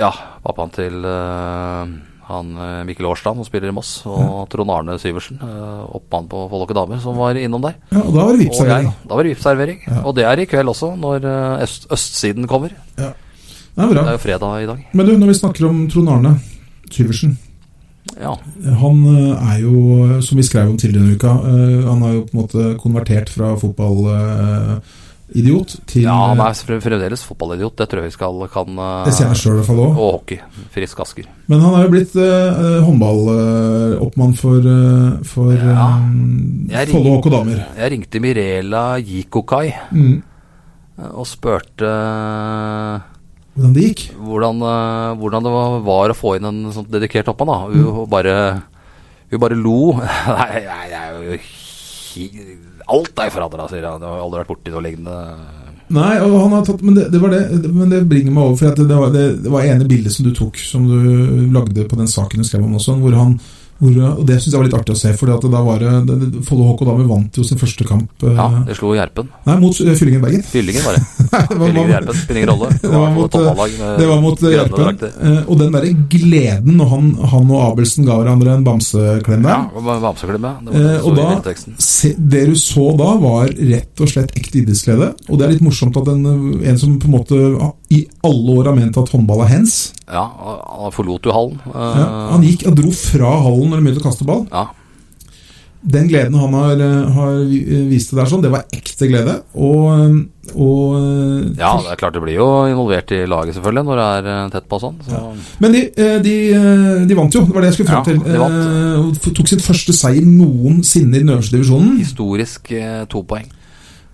S2: Ja, pappaen til eh, han eh, Mikkel Årsland som spiller i Moss, og Trond Arne Syversen, uh, oppmann på Follåke Damer, som var innom der.
S3: ja, og da var det
S2: Og jeg.
S3: Vipps-servering.
S2: Da var det VIP-servering. Og det er i kveld også, når eh, øst, østsiden kommer.
S3: Det er
S2: Det er
S3: bra.
S2: jo fredag i dag.
S3: Men du, når vi snakker om Trond Arne Syversen
S2: Ja.
S3: Han eh, er jo, som vi skrev om tidligere i uka, eh, han har jo på en måte konvertert fra fotballidiot til
S2: ja, han er frem- fremdeles fotballidiot, det tror jeg vi skal kan eh,
S3: det ser jeg selv i hvert fall også.
S2: Og hockey. Frisk Asker.
S3: Men han er jo blitt eh, håndballoppmann for, eh, for
S2: Ja.
S3: eh,
S2: Jeg
S3: Follo HK Damer.
S2: Jeg ringte Mirela Jikokai
S3: Mm.
S2: og spurte
S3: hvordan det gikk.
S2: eh, hvordan, eh, hvordan det var, var å få inn en sånn dedikert hoppmann. da. Hun
S3: Mm.
S2: bare, hun bare lo. Nei, nei, det er jo hi- Alt er forandra, sier han. Jeg har aldri vært borti noe lignende.
S3: Nei, og han har tatt, men det, det var det, men det bringer meg over, for at det, var, det, det var ene bildet som du tok, som du lagde på den saken du skrev om også, hvor han hvor, og Det syns jeg var litt artig å se. For da var det, det, det Follo HK Dame vant jo sin første kamp eh,
S2: Ja, det slo Gjerpen.
S3: Nei, mot eh, Fyllingen Bergen.
S2: Fyllingen, bare.
S3: Det var-
S2: Fyllingen Gjerpen, spiller ingen rolle.
S3: Det var mot, Det var mot eh, Gjerpen. eh, Og den derre gleden når han, han og Abelsen ga hverandre en bamseklem
S2: Ja,
S3: der
S2: Bamseklubb, ja. Det var,
S3: Eh,
S2: det sto i
S3: og da-
S2: bilteksten.
S3: se, Det du så da, var rett og slett ekte idrettsglede. Og det er litt morsomt at en, eh, en som på en måte ah, i alle år har ment at håndball er hens
S2: Ja, og han forlot jo hallen. eh,
S3: ja, Han gikk og dro fra hallen når det begynte å kaste ball.
S2: Ja.
S3: Den gleden han har, eh, har vi- eh, vist det der sånn, det var ekte glede. Og, eh, og eh,
S2: Ja, det er klart det blir jo involvert i laget selvfølgelig når det er eh, tett på og sånn. Så.
S3: Men de, eh, de, eh, de vant jo, det var det jeg skulle
S2: Ja,
S3: fram til.
S2: de
S3: Eh, og f- Tok sin første seier noensinne i den øverste divisjonen,
S2: Historisk eh, to poeng.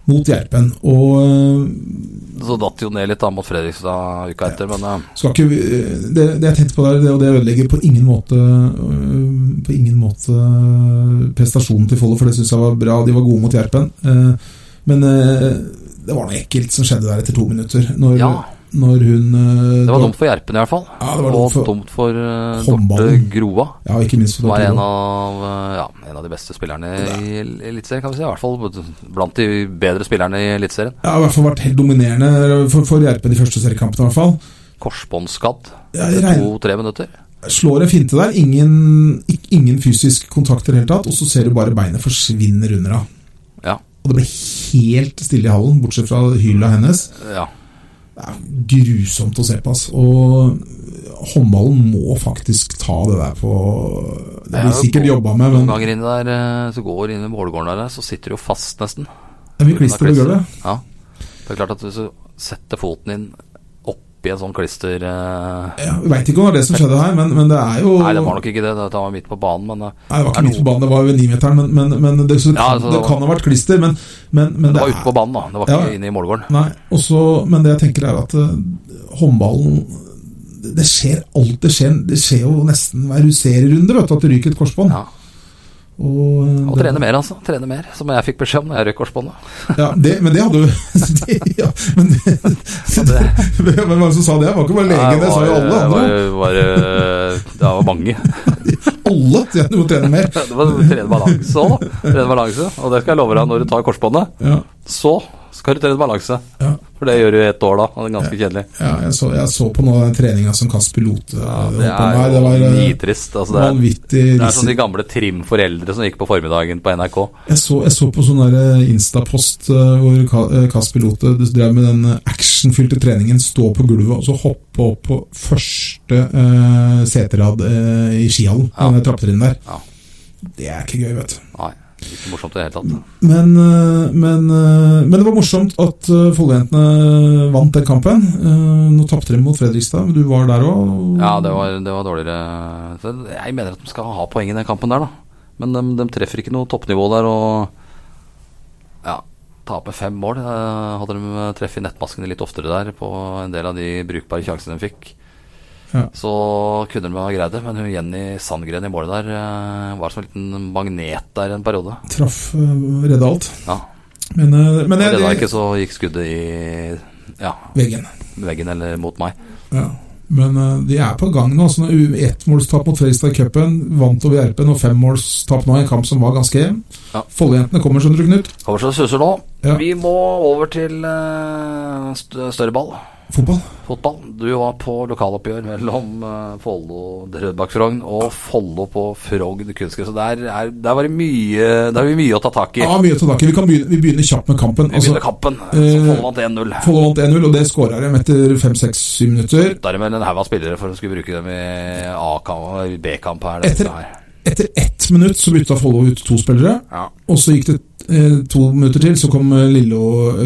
S3: mot Gjerpen. Og eh,
S2: Så datt jo ned litt da mot Fredrikstad uka etter, men eh,
S3: skal ikke vi- eh, det, det jeg tenkte på der, det, og det ødelegger på ingen måte øh, På ingen måte prestasjonen til Follo, for det syns jeg var bra. De var gode mot Gjerpen. Eh, Men eh, det var noe ekkelt som skjedde der etter to minutter. Når,
S2: ja.
S3: når hun eh,
S2: Det var
S3: dro-
S2: dumt for Gjerpen i hvert fall.
S3: Ja, det var
S2: og
S3: dumt for
S2: dumt for eh, Dorte
S3: håndballen.
S2: Groa,
S3: Ja, ikke minst for
S2: som er en
S3: Dorthe.
S2: av, eh, ja, en av de beste spillerne i Eliteserien, kan vi si. I hvert fall blant de bedre spillerne i Eliteserien.
S3: Ja, i hvert fall vært helt dominerende for, for Gjerpen de første seriekampene, i hvert fall.
S2: Korsbåndskadd
S3: Ja, jeg
S2: etter
S3: regner-
S2: to-tre minutter.
S3: slår en finte der. Ingen, ikk- ingen fysisk kontakt i det hele tatt. Og så ser du bare beinet forsvinner under av.
S2: Ja.
S3: Og det ble helt stille i hallen, bortsett fra hyla hennes.
S2: ja.
S3: Det er grusomt å se på, ass. Og håndballen må faktisk ta det der på Det
S2: Ja,
S3: blir sikkert
S2: noen-
S3: jobba med,
S2: Noen
S3: men
S2: ganger inni der, eh, så går inn i målgården der, så sitter du jo fast nesten.
S3: det blir klister på gulvet.
S2: Ja. Det er klart at hvis du setter foten din oppi en sånn klister eh,
S3: Ja, Jeg veit ikke om det var det som skjedde her, men, men det er jo
S2: Nei, det var nok ikke det, det var midt på banen, men eh,
S3: Nei, det var
S2: er
S3: ikke midt på
S2: noe-
S3: banen, det var ved nimeteren, men, men, men det, så det,
S2: Ja,
S3: kan,
S2: altså,
S3: det
S2: det var-
S3: kan ha vært klister. Men, men, men
S2: det var
S3: er-
S2: ute på banen, da. Det var
S3: Ja.
S2: ikke inne i målgården.
S3: Nei, også, men det jeg tenker er at eh, håndballen det- Det skjer alt. Det skjer, det skjer jo nesten hver serierunde vet du, at det ryker et korsbånd.
S2: Ja.
S3: Og, eh,
S2: Og
S3: det-
S2: trene mer, altså. Trene mer, som jeg fikk beskjed om da jeg røk korsbåndet.
S3: Ja, det, men det hadde jo det, ja, men, det, Hvem var det som sa det? Det var ikke bare legen, det sa jo alle
S2: Var, var,
S3: andre.
S2: var, eh, det var mange.
S3: Alle sier at du må trene mer.
S2: Det var trene balanse òg, da. Trene balanse. Og det skal jeg love deg, når du tar korsbåndet,
S3: Ja,
S2: så skal du trene balanse.
S3: ja,
S2: For det gjør du i ett år da, og det er ganske kjedelig.
S3: ja jeg, så, jeg så på noe av den treninga som Kasper Lote
S2: Ja,
S3: holdt på
S2: det
S3: med.
S2: er
S3: Det var
S2: jo
S3: eh,
S2: nitrist. Altså, det er
S3: vanvittig
S2: Det er som
S3: risiko.
S2: de gamle trimforeldre som gikk på formiddagen på NRK.
S3: Jeg så, jeg så på sånn der eh, Insta-post eh, hvor Ka- eh, Kasper Lote drev med den eh, actionfylte treningen. Stå på gulvet og så hoppe opp på første eh, seterad eh, i skihallen.
S2: Ja.
S3: Denne trappetrinnet der.
S2: Ja.
S3: Det er ikke gøy, vet du.
S2: Nei, ikke morsomt i det hele tatt.
S3: Men, eh, men, eh, men det var morsomt at eh, Follo-jentene vant den kampen. Eh, Nå tapte de mot Fredrikstad, men du var der òg.
S2: Ja, det var, det var dårligere Så Jeg mener at de skal ha poeng i den kampen der, da. Men de, de treffer ikke noe toppnivå der, og Ja, taper fem mål. Eh, Hadde de treff i nettmaskene litt oftere der på en del av de brukbare sjansene de fikk,
S3: Ja.
S2: så kunne de ha greid det. Men hun Jenny Sandgren i målet der eh, var som en liten magnet der en periode.
S3: Traff eh, redda alt.
S2: Ja.
S3: Men, eh, men
S2: Og
S3: jeg,
S2: det da
S3: jeg,
S2: ikke, så gikk skuddet i ja,
S3: veggen.
S2: veggen eller mot meg.
S3: Ja. Men eh, de er på gang nå. Så når ettmålstap mot Fredrikstad i cupen, vant over Gjerpen og femmålstap nå i en kamp som var ganske jevn.
S2: Ja.
S3: Follo-jentene kommer, skjønner du, Knut.
S2: Kommer så det suser nå.
S3: Ja.
S2: Vi må over til eh, st større ball.
S3: Fotball.
S2: Fotball. Du var på lokaloppgjør mellom eh, Follo Drøbak Frogn og Follo på Frogn kunstgress. Så Der, er- der var det mye, der var det mye å ta tak i.
S3: Ja, mye å ta tak i. Vi, kan begynne, vi begynner kjapt med kampen.
S2: Vi begynner
S3: Altså,
S2: kampen. Så
S3: eh,
S2: Follo vant 1-0.
S3: Follo vant 1-0, og det skåra de etter 5-6-7 minutter.
S2: Der med en haug av spillere for å skulle bruke dem i A-kamp og B-kamp her.
S3: Etter-
S2: dette her.
S3: Etter ett minutt så bytta Follo ut to spillere,
S2: Ja.
S3: og så gikk det eh, to minutter til så kom eh, Lillo,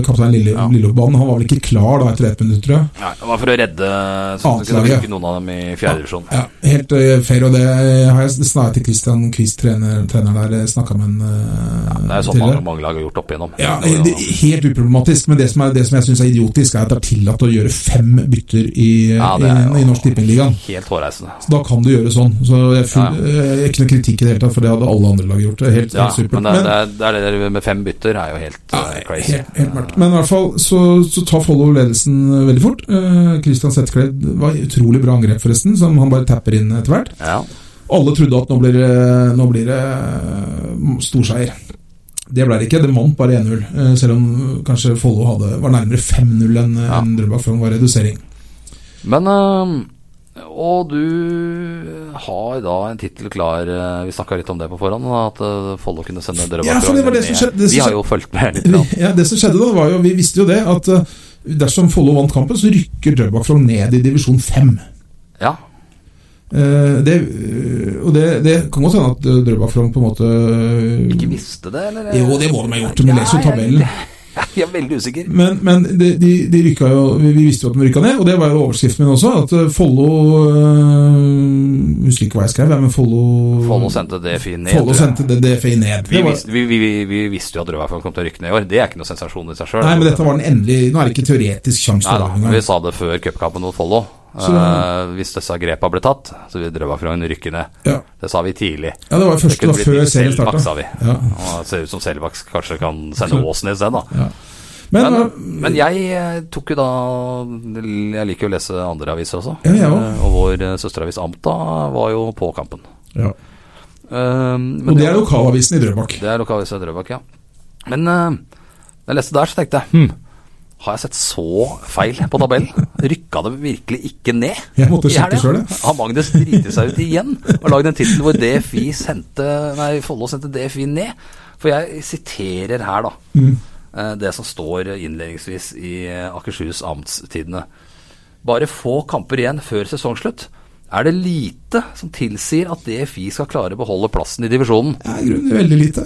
S3: kaptein Lille,
S2: Ja.
S3: Lillo på banen. Han var vel ikke klar da etter ett minutt, tror jeg.
S2: Nei, det var for å redde så
S3: Annet
S2: det kunne
S3: laget.
S2: ikke noen av dem i fjerde divisjon.
S3: Ja, helt eh, fair, og det har jeg snakket til Christian Quist, trener, treneren der, snakka med en eh,
S2: Det er sånn mange, mange lag har gjort opp igjennom.
S3: Ja,
S2: Det var jo-
S3: det, er helt uproblematisk, men det som, er, det som jeg syns er idiotisk, er at det er tillatt å gjøre fem bytter i, eh,
S2: Ja, det er jo-
S3: i, i Norsk Tippingligaen.
S2: Helt hårreisende.
S3: Så Da kan du gjøre sånn. Så jeg er full, eh, Ikke noe kritikk i det hele tatt, for det hadde alle andre lag gjort. Det er Helt,
S2: Ja,
S3: helt supert.
S2: men det, det, er, det er det der med fem bytter er jo helt
S3: Ja,
S2: eh, crazy.
S3: helt, helt mørkt. Men i hvert fall så, så tar Follo ledelsen eh, veldig fort. Eh, Christian Setkled var utrolig bra angrep, forresten, som han bare tapper inn etter hvert.
S2: Ja.
S3: Alle trodde at nå blir, det- nå blir det eh, storseier. Det ble det ikke. Det vant bare 1-0. eh, Selv om kanskje Follo hadde- var nærmere 5-0 enn
S2: Ja.
S3: enn Drøbak, for det var redusering.
S2: Men eh, Og du har da en tittel klar. eh, Vi snakka litt om det på forhånd, at eh, Follo kunne sende Drøbak
S3: Ja, for det var det som
S2: ned.
S3: skjedde- det som
S2: Vi har jo fulgt med litt. grann.
S3: Ja, det som skjedde da, var jo Vi visste jo det, at eh, dersom Follo vant kampen, så rykker Drøbak fra ned i divisjon 5.
S2: Ja,
S3: Eh, det, eh, og det, det kan godt hende at eh, Drøbak Frogn på en måte eh,
S2: ikke visste det, eller?
S3: Jo, det må de ha gjort, men les jo
S2: Ja, jeg-
S3: tabellen.
S2: Jeg er veldig usikker.
S3: Men, men de, de, de rykka jo vi, vi visste jo at de rykka ned, og det var jo overskriften min også. At eh, Follo øh, Husker ikke hva jeg skrev, ja, men Follo
S2: Follo sendte det fint ned.
S3: Follo
S2: tror jeg.
S3: sendte det DFI ned.
S2: Vi,
S3: Det var,
S2: visste, vi, vi, vi, vi visste jo at Rødberg kom til å rykke ned i år. Det er ikke noe sensasjon i seg sjøl.
S3: nei, men dette var den endelige Nå er det ikke teoretisk sjanse til det
S2: Vi
S3: engang.
S2: sa det før cupkampen mot Follo.
S3: Så-
S2: Eh, hvis disse grepa ble tatt, så vil Drøbakfrogn rykke ned.
S3: Ja.
S2: Det sa vi tidlig.
S3: ja, det var jo
S2: Det
S3: første
S2: kunne
S3: da
S2: blitt
S3: før
S2: litt
S3: serien
S2: Selbakk, sa
S3: starta.
S2: vi.
S3: Ja.
S2: Og det ser ut som Selbakk kanskje kan sende Åsen isteden, da.
S3: Men,
S2: Men,
S3: øh,
S2: men jeg eh, tok jo da Jeg liker jo å lese andre aviser også.
S3: Ja, jeg også.
S2: Eh, Og vår eh, søsteravis Amta var jo på kampen.
S3: ja.
S2: Eh, men
S3: Og det er lokalavisen i Drøbak.
S2: Det er lokalavisen i Drøbak, ja. Men eh, da jeg leste der, så tenkte jeg hm, har jeg sett så feil på tabellen? Rykka det virkelig ikke ned?
S3: Jeg måtte
S2: i helga?
S3: sjekke selv, jeg.
S2: Har Magnus driti seg ut igjen og lagd en tittel hvor DFI sendte Nei, Follo sendte DFI ned? For jeg siterer her, da.
S3: Mm.
S2: eh, Det som står innledningsvis i eh, Akershus Amtstidene. Bare få kamper igjen før sesongslutt. Er det lite som tilsier at DFI skal klare å beholde plassen i divisjonen?
S3: Det er i grunnen veldig lite.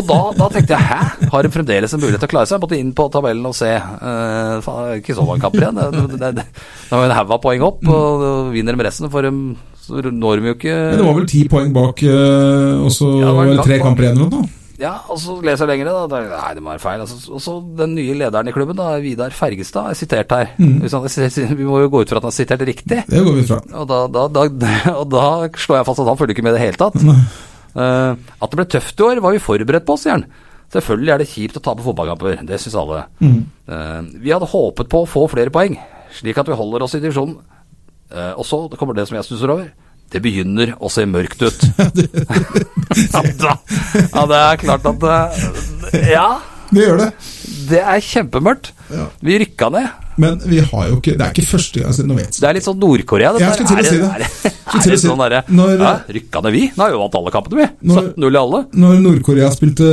S2: Og da, da tenkte jeg hæ, har de fremdeles en mulighet til å klare seg? Jeg måtte inn på tabellen og se. Eh, faen, det er ikke så mange kamper igjen. Det- det- det- det var en haug av poeng opp,
S3: Mm.
S2: og vinner de resten, for de så når de jo
S3: Men det
S2: ikke
S3: var vel ti poeng bak, øh, og så
S2: Ja, det var
S3: var det tre
S2: langt bak.
S3: kamper igjen eller noe?
S2: Ja, og så leser jeg lenger, da. da. Nei, det må være feil. Altså, og så den nye lederen i klubben, da, Vidar Fergestad, er sitert her.
S3: Mm.
S2: Hvis han, er sitert- vi må jo gå ut fra at han er sitert riktig.
S3: Det går vi fra.
S2: Og da, da, da, og da slår jeg fast at han følger ikke med i det hele tatt. Eh, at det ble tøft i år, var vi forberedt på, sier han. Selvfølgelig er det kjipt å tape fotballkamper, det syns alle. Eh, vi hadde håpet på å få flere poeng, slik at vi holder oss i divisjonen. Eh, og så kommer det som jeg stusser over. Det begynner å se mørkt ut. ja, da, ja, det er klart at eh, Ja,
S3: Det gjør det.
S2: det er kjempemørkt.
S3: Ja.
S2: Vi rykka ned.
S3: Men vi har jo ikke Det er ikke første gang siden, nå vet
S2: Det er litt sånn Nord-Korea. dette
S3: Jeg skulle til
S2: her.
S3: å si det.
S2: Er det, er det,
S3: Skulle
S2: er
S3: til å
S2: det
S3: si det.
S2: sånn derre
S3: Når- eh,
S2: ja, Rykka ned vi? Nå har vi jo vant alle kampene, vi.
S3: Når-
S2: 17-0 i alle.
S3: Når Nord-Korea spilte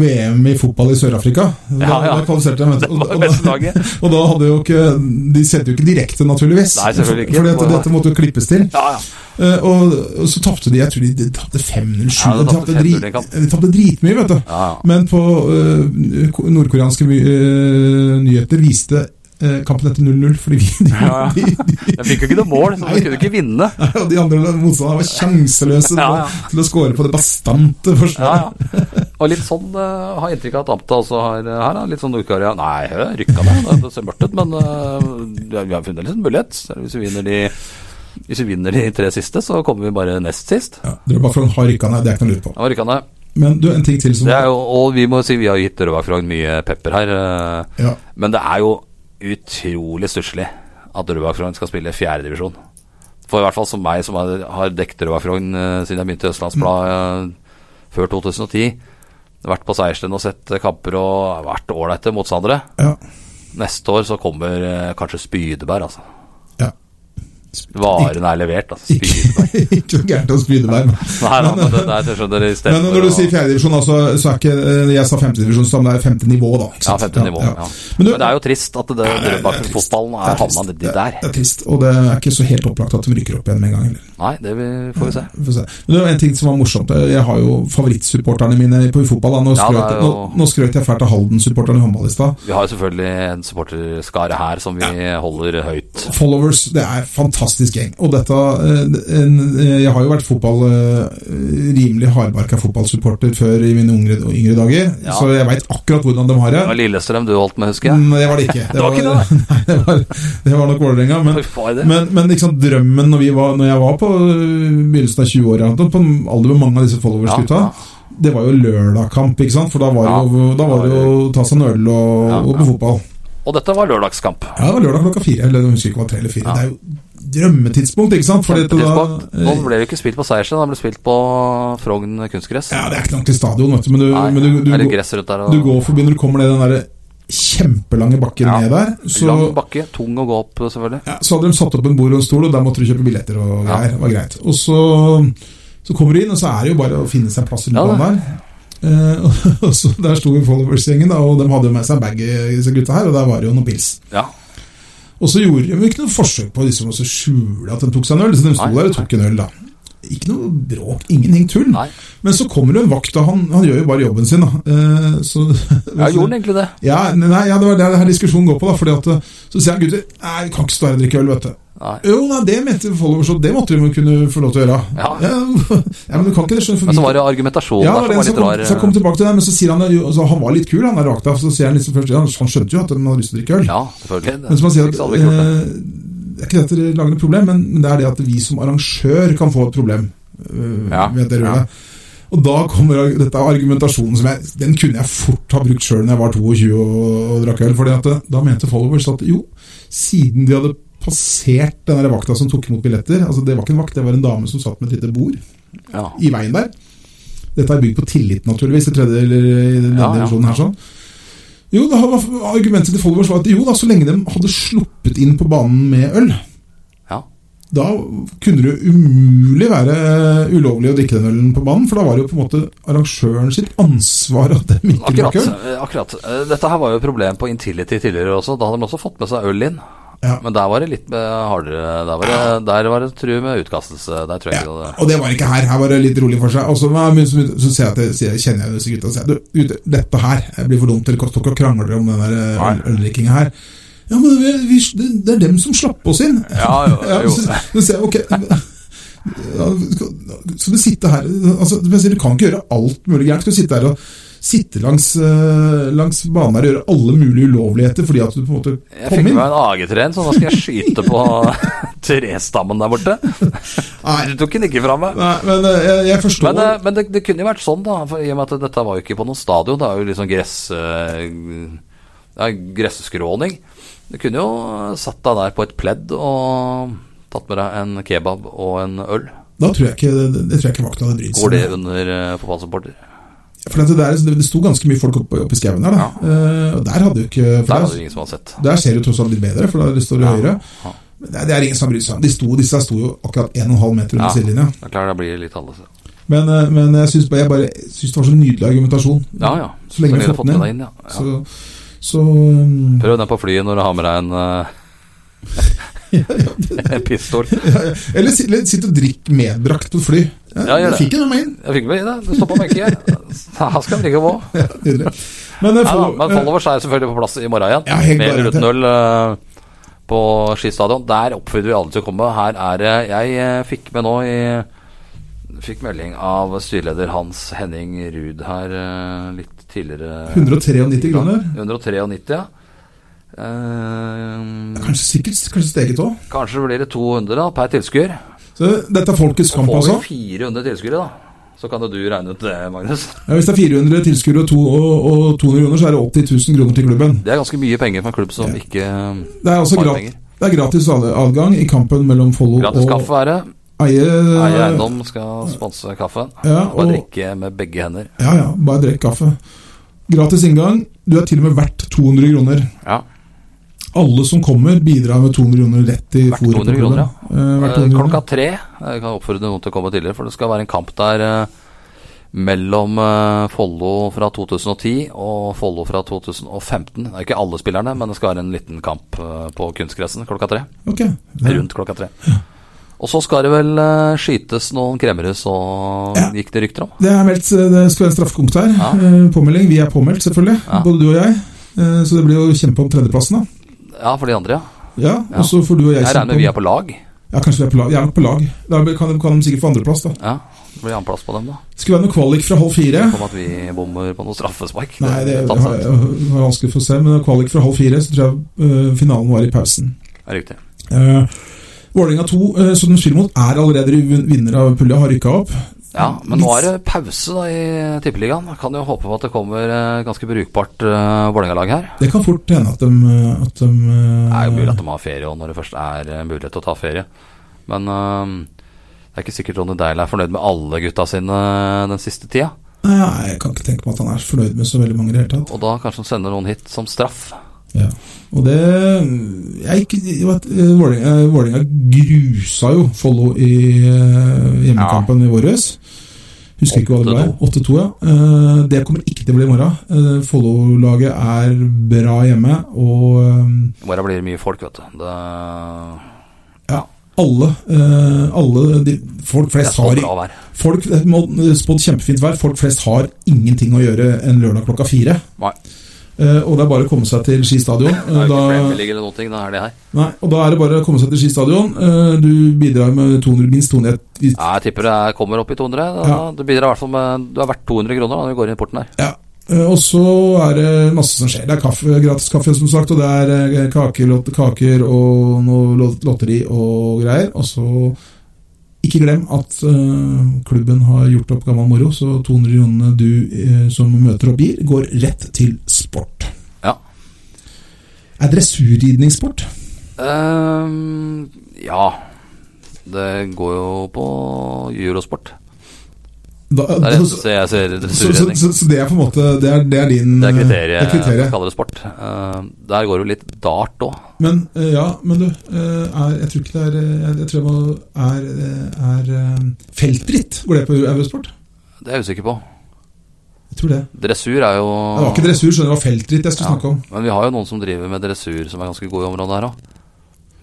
S3: VM i fotball i Sør-Afrika da,
S2: Ja, ja.
S3: da kvalifiserte de, vet du.
S2: Det var
S3: Og- og-
S2: beste laget.
S3: Og da hadde jo ikke De sendte jo ikke direkte, naturligvis.
S2: Nei, selvfølgelig ikke.
S3: Fordi at dette måtte jo klippes til.
S2: Ja, ja.
S3: Eh, Og, og så tapte de jeg tror de, de tapte 5-0-7.
S2: Ja, de
S3: de
S2: tapte
S3: tapte
S2: 5-0
S3: drit-
S2: den kampen.
S3: de tapte dritmye, vet du.
S2: Ja, ja.
S3: Men på eh, ko- nordkoreanske my- eh, nyheter viste eh, kampen etter 0-0, fordi vi de,
S2: Ja, ja.
S3: de, de,
S2: Jeg fikk jo ikke noe mål, så
S3: Nei.
S2: vi kunne ikke vinne.
S3: og de andre motstanderne var sjanseløse
S2: Ja, ja.
S3: til å- til å score på det bastante
S2: Ja,
S3: forsvaret.
S2: ja. Og litt sånn eh, har jeg inntrykk av at Amta også har eh, her. Da. Litt sånn Nord-Korea. Nei, hø, rykka ned. Det- Det ser mørkt ut, men eh, vi har fremdeles en mulighet. Så Hvis vi, vinner de, hvis vi vinner de tre siste, så kommer vi bare nest sist.
S3: Ja, Drøbakfrogn har rykka ned, det er ikke noe å lure på.
S2: Ja, rykka ned.
S3: Men du, en ting til som
S2: Det er jo, og vi må si vi har gitt Drøbakfrogn mye pepper her. eh,
S3: Ja.
S2: Men det er jo utrolig stusslig at Drøbakfrogn skal spille fjerdedivisjon. For i hvert fall som meg, som har- har dekket Drøbakfrogn eh, siden jeg begynte i Østlandsbladet eh, før 2010. Vært på Seiersten og sett eh, kamper og vært ålreite motstandere.
S3: Ja,
S2: Neste år så kommer eh, kanskje Spydeberg, altså.
S3: ja.
S2: Varen er levert, altså. Spyr.
S3: ikke noe gærent å spyde der. Men,
S2: Nei, nei, men det, nei, jeg skjønner det
S3: men
S2: istedenfor
S3: når du sier fjerdedivisjon, altså, så er ikke eh, Jeg sa femtedivisjon, så det er femte nivå, da. ikke
S2: Ja,
S3: sant?
S2: femte nivå. Ja.
S3: Men du,
S2: Men det er jo trist at det- det Drøbak-fotballen
S3: det
S2: er
S3: er trist.
S2: havna nedi der.
S3: Det er trist, og det er ikke så helt opplagt at de rykker opp igjen med en gang. Eller?
S2: Nei, det vi- får vi se.
S3: Vi får se. Men det var en ting som var morsomt. Jeg har jo favorittsupporterne mine på fotball. Da. Nå,
S2: Ja, det er
S3: skrøt,
S2: jo-
S3: nå, nå skrøt jeg fælt av Halden-supporterne i håndball i stad.
S2: Vi har jo selvfølgelig en supporterskare her som vi holder høyt.
S3: Followers, det er en fantastisk gjeng. Og dette eh, en, eh, Jeg har jo vært fotball eh, rimelig hardbarka fotballsupporter før i mine yngre, yngre dager,
S2: Ja.
S3: så jeg veit akkurat hvordan de har det.
S2: Det var Lillestrøm du holdt med, husker jeg.
S3: Mm, Men det var det ikke.
S2: Det var ikke
S3: Nei, det, var, det var nok Vålerenga. Men,
S2: Fy faen, det.
S3: men, men liksom drømmen når, vi var, når jeg var på øh, begynnelsen av 20-åra, på alder med mange av disse followers-gutta,
S2: Ja,
S3: det var jo lørdagkamp, ikke sant? For da var det jo, da var det jo å ta seg en øl og,
S2: Ja,
S3: og
S2: ja.
S3: på fotball.
S2: Og dette var lørdagskamp.
S3: Ja, det var lørdag klokka fire. Eller jeg husker ikke om det var tre eller
S2: Ja.
S3: fire. Det er jo drømmetidspunkt, ikke sant? Fordi eh, at da-
S2: Tidspunkt. Nå ble det jo ikke spilt på Seiersen, det ble spilt på Frogn kunstgress.
S3: ja, det er ikke langt til stadion, vet du, men du,
S2: Nei,
S3: men du, du,
S2: det er litt
S3: går-
S2: gress rundt der.
S3: du
S2: Og
S3: går forbi når du kommer ned den derre kjempelange bakken
S2: Ja.
S3: ned der. Så,
S2: lang bakke, tung å gå opp, selvfølgelig.
S3: Ja, så hadde de satt opp en bord og en stol, og der måtte du kjøpe billetter og greier. Det var greit. Og så, så kommer du inn, og så er det jo bare å finne seg en plass i
S2: Ja,
S3: lokalet der. Eh, og- og så Der sto jo followers-gjengen, da, og de hadde jo med seg en bag, i disse gutta her, og der var det jo noen pils.
S2: Ja.
S3: Og så gjorde de jo ikke noe forsøk på liksom, å så skjule at de tok seg en øl, så de sto
S2: Nei,
S3: der og tok en øl, da. Ikke noe bråk, ingenting tull.
S2: Nei.
S3: Men så kommer det en vakt, og han, han gjør jo bare jobben sin, da. Eh, så,
S2: Ja, gjorde den egentlig det?
S3: Ja, nei, ja, det var det her diskusjonen går på, da. Fordi at, eh, så sier han gutter, nei, vi kan ikke stå her og drikke øl, vet du.
S2: Nei.
S3: Jo, nei, det mente followers, og det måtte de jo kunne få lov til å gjøre.
S2: Ja.
S3: ja, men du kan ikke det, skjønne.
S2: Men så var det argumentasjonen
S3: ja, det
S2: der som
S3: var den
S2: var
S3: som
S2: litt
S3: kom,
S2: rar. eh.
S3: så jeg kom tilbake til det, men så sier han jo, altså, han var litt kul, han der rakta, så sier han liksom først, ja, han skjønte jo at de hadde lyst til å drikke øl.
S2: eh, Ja, selvfølgelig.
S3: Men som han sier,
S2: Ikke
S3: at,
S2: så hadde vi ikke gjort det.
S3: eh, det er ikke dette det lager noe problem, men, men det er det at vi som arrangør kan få et problem eh,
S2: Ja,
S3: med det
S2: ja.
S3: røde. Og da kommer arg- dette er argumentasjonen som jeg Den kunne jeg fort ha brukt sjøl når jeg var 22 og, og drakk øl. Fordi at eh, da mente followers at jo, siden de hadde passert den der vakta som tok imot billetter Altså Det var ikke en vakt, det var en dame som satt med et lite bord
S2: Ja.
S3: i veien der. Dette er bygd på tillit, naturligvis, i tredje eller i denne
S2: Ja, ja.
S3: divisjonen her. sånn. Jo, da var Argumentet til Followers var at jo da, så lenge de hadde sluppet inn på banen med øl,
S2: Ja.
S3: da kunne det jo umulig være eh, ulovlig å drikke den ølen på banen, for da var det jo på en måte arrangøren sitt ansvar at de ikke
S2: Akkurat.
S3: drakk øl.
S2: eh, akkurat. Eh, Dette her var jo et problem på Intility tidligere også. Da hadde de også fått med seg øl inn.
S3: Ja.
S2: Men der var det litt eh, hardere. Der var det, der var det true med utkastelse. Der tror jeg ikke
S3: Ja,
S2: det
S3: og det var ikke her. Her var det litt rolig for seg. Og så, men så, så ser jeg at jeg, sier- kjenner jeg disse gutta og sier du, gutter, dette her blir for dumt. Dere kan ikke krangle om den der eh, øl- øldrikkinga her. Ja, men vi, vi, det- det er dem som slapp oss inn.
S2: Ja, jo,
S3: Ja,
S2: jo.
S3: så, så ser jeg, ok ja, skal- Skal du sitte her altså, men jeg sier, Du kan ikke gjøre alt mulig gærent. Skal du sitte her og sitte langs, eh, langs banen her og gjøre alle mulige ulovligheter fordi at du på en måte
S2: Jeg
S3: kom
S2: fikk
S3: inn?
S2: meg en AG-tren, så nå skal jeg skyte på trestammen der borte. Du tok den ikke fra meg.
S3: Nei, men eh, jeg, jeg forstår
S2: Men, eh, men det, det kunne jo vært sånn, da. For I og med at dette var jo ikke på noe stadion. Det er jo liksom gress... eh, Ja, gresskråning. Du kunne jo satt deg der på et pledd og tatt med deg en kebab og en øl.
S3: Da tror jeg ikke, det, det tror jeg ikke vakta hadde brydd
S2: Går det under eh, fotballsupporter?
S3: For det, der, det, det sto ganske mye folk oppe, oppe i skauen der, da. Eh, og der hadde jo ikke for
S2: Der hadde
S3: der,
S2: jo ingen som hadde sett.
S3: der ser det jo tross alt litt bedre, for der står det høyere.
S2: ja.
S3: Men det, det er ingen som bryr seg om De sto, Disse her sto jo akkurat 1,5 meter under
S2: Ja.
S3: sidelinja.
S2: Det er klart det blir litt annerledes.
S3: Men, eh, men jeg syns bare, jeg bare jeg synes det var så nydelig argumentasjon.
S2: Ja, ja.
S3: Så lenge vi har
S2: du
S3: fått den
S2: deg
S3: inn.
S2: ja. ja.
S3: Så, så um,
S2: Prøv den på flyet når du har med deg en eh, en pistol.
S3: eh, Eller sitt eller sitt og drikk medbrakt på fly.
S2: Ja, gjør det.
S3: Fikk jeg noe med inn?
S2: Jeg fikk med i det. Du står på benken her. Her skal vi ligge og gå.
S3: Ja, nydelig. Men, eh,
S2: Nei da,
S3: follow-
S2: men
S3: eh,
S2: followers er selvfølgelig på plass i morgen igjen.
S3: Ja, helt
S2: med eller uten
S3: garantert.
S2: øl eh, på Ski stadion. Der oppfordrer vi alle til å komme. Her er det Jeg eh, fikk med nå i Fikk melding av styreleder Hans Henning Ruud her eh, litt tidligere.
S3: 193 kroner.
S2: 193, ja. Eh,
S3: Kanskje sikkert kanskje steget òg.
S2: kanskje blir det 200 da, per tilskuer.
S3: Så dette er folkets kamp,
S2: Får vi
S3: altså.
S2: 400 tilskuere, da, så kan jo du regne ut det, Magnus.
S3: Ja, hvis det er 400 tilskuere og, to, og, og 200 kroner, så er det 80 000 kroner til klubben.
S2: Det er ganske mye penger for en klubb som ikke eh,
S3: Det er altså
S2: Bare
S3: grat
S2: penger.
S3: det er gratis ad- adgang i kampen mellom Follo
S2: Gratis
S3: og
S2: kaffe er det.
S3: Eie.
S2: Eie Eiendom skal sponse kaffen.
S3: Ja,
S2: Bare
S3: og,
S2: drikke med begge hender.
S3: ja, ja, bare drikk kaffe. Gratis inngang. Du er til og med verdt 200 kroner.
S2: Ja.
S3: Alle som kommer, bidrar med 200 kroner rett i
S2: Hvert 200
S3: fôret på
S2: kroner, ja.
S3: bordet. Eh, hvert
S2: Eh,
S3: 200
S2: Klokka
S3: kroner.
S2: tre. Jeg kan oppfordre noen til å komme tidligere, for det skal være en kamp der eh, mellom eh, Follo fra 2010 og Follo fra 2015. Det er ikke alle spillerne, men det skal være en liten kamp eh, på kunstgressen klokka tre.
S3: Ok. Ja.
S2: Rundt klokka tre. Og så skal det vel eh, skytes noen kremmerhus, og
S3: Ja.
S2: gikk det rykter om.
S3: Det er meldt, eh, det skal være en straffekonk der.
S2: Ja.
S3: Eh, Påmelding. Vi er påmeldt, selvfølgelig.
S2: Ja.
S3: Både du og jeg. Eh, Så det blir jo kjempe om tredjeplassen, da.
S2: Ja, for de andre, ja.
S3: Ja,
S2: Ja.
S3: Og så får du og jeg,
S2: Jeg regner
S3: kjempe
S2: med vi er
S3: om
S2: på lag.
S3: Ja, kanskje vi er på lag. Vi er på lag. Da kan de, kan de sikkert få andreplass, da.
S2: Ja, det blir annenplass på dem, da.
S3: Skulle være noe kvalik fra halv fire.
S2: Om at vi bommer på noe straffespark.
S3: Nei, det
S2: er
S3: er
S2: tatt seg ut.
S3: vanskelig for å se, men kvalik fra halv fire, så tror jeg eh, finalen var i pausen.
S2: Det er riktig.
S3: Uh, Vålerenga 2, eh, som de spiller mot, er allerede vin- vinner av pulja, har rykka opp.
S2: Ja, men nå
S3: Litt-
S2: er det pause da i Tippeligaen. Kan jo håpe på at det kommer eh, ganske brukbart eh, Vålerenga-lag her.
S3: Det kan fort hende at de, eh, at de eh,
S2: Det er jo mulig at de har ferie, og når det først er eh, mulighet til å ta ferie. Men eh, det er ikke sikkert Ronny Deil er fornøyd med alle gutta sine eh, den siste tida.
S3: Nei, jeg kan ikke tenke meg at han er fornøyd med så veldig mange i det hele tatt.
S2: Og da kanskje han sender noen hit som straff.
S3: Ja. Og det jeg, er ikke- jeg vet, eh, Vålerenga eh, Vålerenga grusa jo Follo i eh, hjemmekampen i våres. Husker ikke hva det ble. 8-2, ja. Eh, Det kommer ikke til å bli i morgen. Eh, Follo-laget er bra hjemme, og eh,
S2: I morgen blir det mye folk, vet du. Det,
S3: ja, alle, eh, alle de, Folk
S2: det er
S3: flest
S2: så
S3: har
S2: bra vær.
S3: Folk, det må- spådd kjempefint vær. Folk flest har ingenting å gjøre en lørdag klokka fire.
S2: Nei.
S3: Eh, Og det er bare å komme seg til Ski stadion. Eh,
S2: Det er jo ikke
S3: Da-
S2: Premier League eller noen ting, det er det her.
S3: Nei, og da er det bare å komme seg til Ski stadion. Eh, Du bidrar med 200, minst 200 i-
S2: Ja, jeg tipper det er- kommer opp i 200. Da,
S3: Ja.
S2: Du bidrar i hvert fall med Du er verdt 200 kroner da, når vi går inn i porten her.
S3: Ja. Eh, Og så er det masse som skjer. Det er kaffe, gratis kaffe, som sagt, og det er eh, kaker, lot- kaker og noe lot- lotteri og greier. Og så ikke glem at eh, klubben har gjort opp gammel moro, så 200 kronene du eh, som møter opp gir, går rett til sport.
S2: Ja.
S3: Er dressurridningssport?
S2: Ehm, ja. Det går jo på eurosport.
S3: Da, altså,
S2: Det er det eneste jeg ser
S3: så, så,
S2: dressurredning.
S3: så, så det er på en måte Det er, det er din
S2: Det er
S3: eh, det
S2: kriteriet
S3: er kriteriet.
S2: jeg kaller det sport. Ehm, der går det jo litt dart òg.
S3: Men eh, ja, men du eh, er, Jeg tror ikke det er eh, Jeg, jeg tror det var- er, eh, er eh, feltritt. Går det på Eurosport?
S2: Det er jeg usikker på.
S3: Jeg tror det.
S2: Dressur er jo
S3: Det var ikke dressur, skjønner du. Det var feltritt jeg
S2: Ah.
S3: skulle
S2: Ja.
S3: snakke om.
S2: Men vi har jo noen som driver med dressur som er ganske gode i området her òg.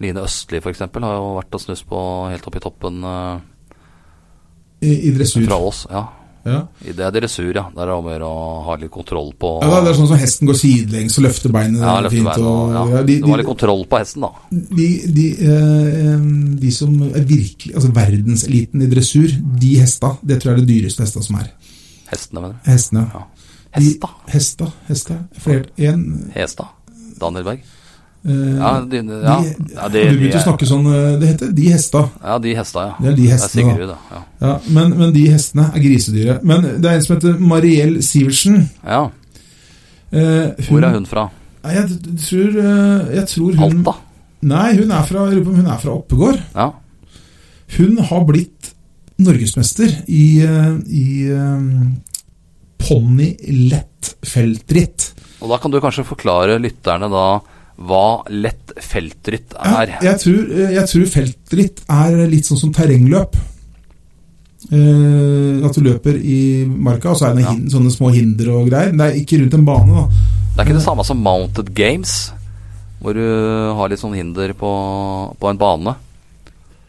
S2: Line Østli f.eks. har jo vært og snust på helt opp i toppen eh,
S3: I, i dressur.
S2: fra Ås. Ja.
S3: Ja.
S2: I Det er dressur, ja. Der er det om å gjøre å ha litt kontroll på
S3: Ja, det er sånn som hesten går sidelengs og løfter beinet
S2: Ja, løfte
S3: fint.
S2: beina
S3: og,
S2: og- ja.
S3: ja, de,
S2: Det var litt
S3: de,
S2: kontroll på hesten, da.
S3: de, de, eh, eh, de som er virkelig Altså verdenseliten i dressur, de hesta, det tror jeg er det dyreste hesta som er.
S2: Hestene, mener jeg.
S3: Hestene.
S2: Ja.
S3: De-
S2: Hesta.
S3: Hesta, hesta. Flere, en,
S2: Hesta. Daniel Berg.
S3: eh,
S2: Ja, de, ja.
S3: de,
S2: ja,
S3: har
S2: de,
S3: du
S2: de,
S3: begynte å snakke sånn eh, Det heter de hesta.
S2: ja, de hesta, ja.
S3: Det er de hestene,
S2: Det er Sigrid, da. Ja.
S3: Ja, men, men de hestene er grisedyre. Men det er en som heter Mariell Sivertsen.
S2: ja.
S3: Eh,
S2: Hvor er hun fra?
S3: Nei, Jeg, t- tror, eh, jeg tror hun
S2: Alta?
S3: Nei, hun er fra, jeg lurer på om hun er fra Oppegård.
S2: Ja.
S3: Hun har blitt norgesmester i, eh, i eh, ponni lett feltritt.
S2: Og da kan du kanskje forklare lytterne da hva lett feltritt
S3: Ja,
S2: er.
S3: jeg, tror, eh, jeg tror feltritt er litt sånn som terrengløp. Eh, at du løper i marka, og så er det noen
S2: Ja.
S3: hin, sånne små hinder og greier. Det er ikke rundt en bane, da.
S2: Det er ikke det samme som Mounted Games, hvor du har litt sånn hinder på, på en bane.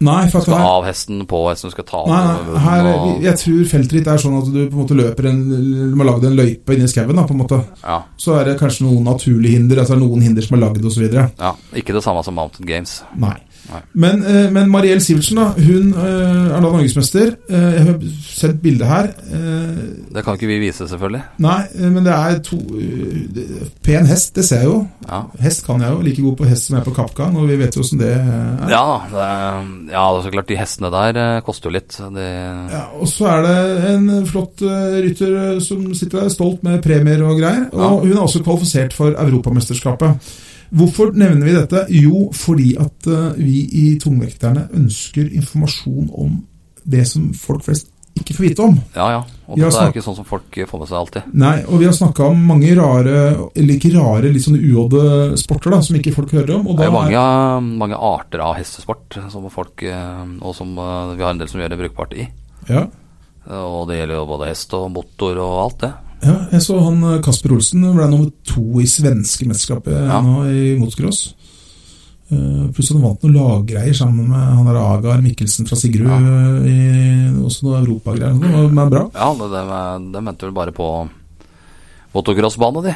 S3: Nei,
S2: Du
S3: for at
S2: skal
S3: her,
S2: av hesten, på hesten, du skal ta av
S3: nei,
S2: den
S3: nei
S2: med
S3: her,
S2: munnen og-
S3: jeg tror feltritt er sånn at du på en måte løper en Du må lage en løype inni skauen, da, på en måte.
S2: ja,
S3: Så er det kanskje noen naturlige hinder, altså noen hinder som er lagd, osv.
S2: ja, ikke det samme som Mounted Games.
S3: Nei.
S2: Nei.
S3: Men, eh, men Mariell Sivertsen, da. Hun eh, er da norgesmester. Eh, Jeg har sett bildet her. Eh,
S2: Det kan ikke vi vise, selvfølgelig.
S3: Nei, eh, men det er to eh, det- Pen hest, det ser jeg jo.
S2: Ja,
S3: Hest kan jeg jo. Like god på hest som jeg er på kappgang, og vi vet jo åssen det eh, er.
S2: ja, det, er- ja det er så klart, de hestene der eh, koster jo litt. De,
S3: Ja, og så er det en flott eh, rytter eh, som sitter der stolt med premier og greier. Og
S2: Ja.
S3: hun er også kvalifisert for Europamesterskapet. Hvorfor nevner vi dette? Jo, fordi at eh, vi i tungvekterne ønsker informasjon om det som folk flest ikke får vite om.
S2: Ja, ja. Og
S3: Ja,
S2: dette er
S3: snakk-
S2: jo ikke sånn som folk eh, får med seg alltid.
S3: Nei, og vi har snakka om mange rare, eller ikke rare, litt sånn uodde sporter da, som ikke folk hører om. Og
S2: Det
S3: da
S2: er jo
S3: er-
S2: mange, mange arter av hestesport som folk eh, Og som eh, vi har en del som gjør det brukbart i.
S3: ja,
S2: Og det gjelder jo både hest og motor og alt det.
S3: ja, jeg så han eh, Kasper Olsen ble nummer to i svenske mesterskapet
S2: Ja.
S3: nå i motocross. Eh, Pluss at han vant noen laggreier sammen med han der Agar Mikkelsen fra Sigrud.
S2: Ja.
S3: eh, I, også noen europagreier. og sånt, og Det var bra.
S2: Ja, det, det, det mente vel bare på motocrossbane, de.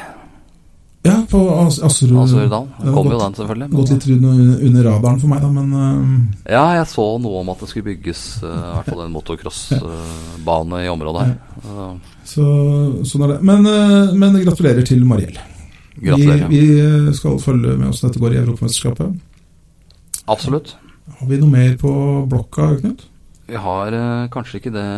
S3: Ja, på As Asserud.
S2: Asurdal.
S3: Mm. Ja,
S2: Kom jo
S3: godt.
S2: den, selvfølgelig.
S3: Gått
S2: Men,
S3: litt under, under radaren for meg, da, men eh,
S2: ja, jeg så noe om at det skulle bygges eh, i hvert fall en motocrossbane i området her. Så,
S3: så, sånn er det. Men, eh, men gratulerer til Mariell.
S2: Gratulerer.
S3: Vi, vi skal følge med hvordan dette går i Europamesterskapet.
S2: Absolutt.
S3: Har vi noe mer på blokka, Knut?
S2: Vi har eh, kanskje ikke det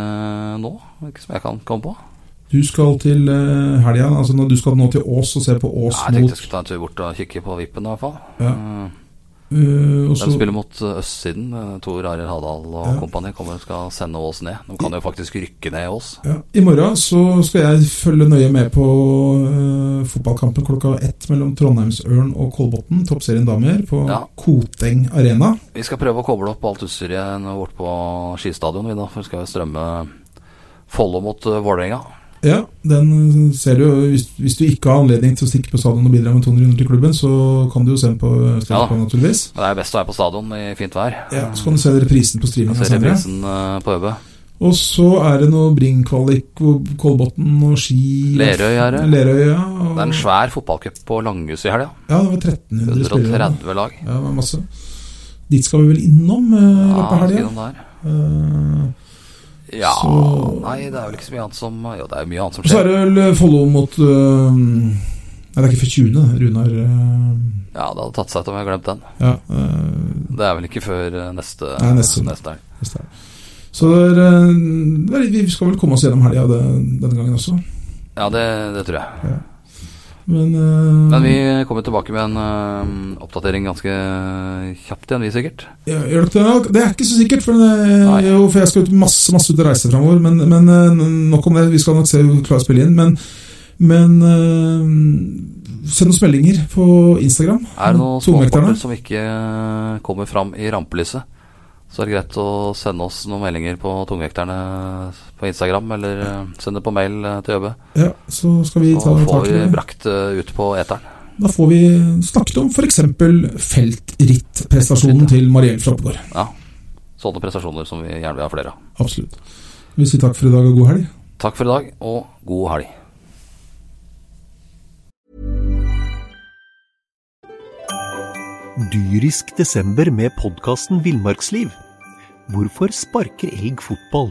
S2: nå, ikke som jeg kan komme på.
S3: Du skal til eh, helga, altså når du skal nå til Ås og se på Ås
S2: Nei, jeg tenkte
S3: mot
S2: jeg skulle ta en tur bort og kikke på vippen, i hvert fall.
S3: Ja.
S2: Eh,
S3: eh, og
S2: De
S3: så-
S2: spiller mot eh, østsiden. eh, Tor Arild Hadal og
S3: Ja.
S2: kompani kommer og skal sende Ås ned. De kan jo faktisk rykke ned Ås.
S3: ja. I morgen så skal jeg følge nøye med på eh, fotballkampen klokka ett mellom Trondheimsørn og Kolbotn, toppserien damer, på
S2: Ja.
S3: Koteng Arena.
S2: Vi skal prøve å koble opp alt utstyret nå bort på skistadion, vi da, for vi skal jo strømme Follo mot eh, Vålerenga.
S3: Ja, den eh, ser du jo. Hvis, hvis du ikke har anledning til å stikke på stadion og bidra med 200 kroner til klubben, så kan du jo se den på Østlandsbanen, naturligvis.
S2: Men Det er jo best å være på stadion i fint vær.
S3: Ja, så kan du se reprisen på
S2: Vi
S3: streaming.
S2: ser
S3: senere.
S2: reprisen eh, på Øbø.
S3: Og så er det noe Bring-kvalik, og Kolbotn og ski
S2: Lerøy er det.
S3: Lerøy, ja. Og,
S2: Det er en svær fotballcup på Langhus i helga.
S3: ja, det var 1300 spillere.
S2: 130 lag.
S3: Ja, det var masse. Dit skal vi vel innom eh, i løpet av
S2: Ja, si
S3: helga.
S2: dem der.
S3: Eh,
S2: ja
S3: Så-
S2: Nei, det er vel ikke så mye annet som Jo, det er jo mye annet som
S3: Og så er
S2: skjer.
S3: det vel Follo mot eh, Nei, det er ikke før 20., det. Runar eh,
S2: Ja, det hadde tatt seg ut om jeg glemte den.
S3: Ja. eh,
S2: Det er vel ikke før eh, neste
S3: Nei, neste-
S2: neste helg.
S3: Hvis det er. Så det er, eh, det er, vi skal vel komme oss gjennom helga det- denne gangen også.
S2: Ja, det, det tror jeg.
S3: Men, eh,
S2: Men vi kommer tilbake med en eh, oppdatering ganske eh, kjapt igjen, vi sikkert.
S3: ja, gjør dere det? Det er ikke så sikkert, for, det,
S2: Nei.
S3: jo, for jeg skal ut masse, masse ut og reise framover. Men, men eh, nok om det. Vi skal nok se om vi klarer å spille inn. Men, men eh, send oss meldinger på Instagram.
S2: Er det noen
S3: Tungvekterne?
S2: småsporter som ikke eh, kommer fram i rampelyset, så er det greit å sende oss noen meldinger på tungvekterne eh, på Instagram, eller eh, send det på mail eh, til Øbe.
S3: Ja, så skal vi ta
S2: Så får
S3: tak i
S2: vi
S3: det.
S2: brakt eh, ut på eteren.
S3: Da får vi snakket om f.eks. feltrittprestasjonen til Mariell Froppegård.
S2: Ja. Sånne prestasjoner som vi gjerne vil ha flere av.
S3: Absolutt. Vi sier takk for i dag og god helg.
S2: Takk for i dag, og god helg.
S4: Dyrisk desember med podkasten Villmarksliv. Hvorfor sparker elg fotball?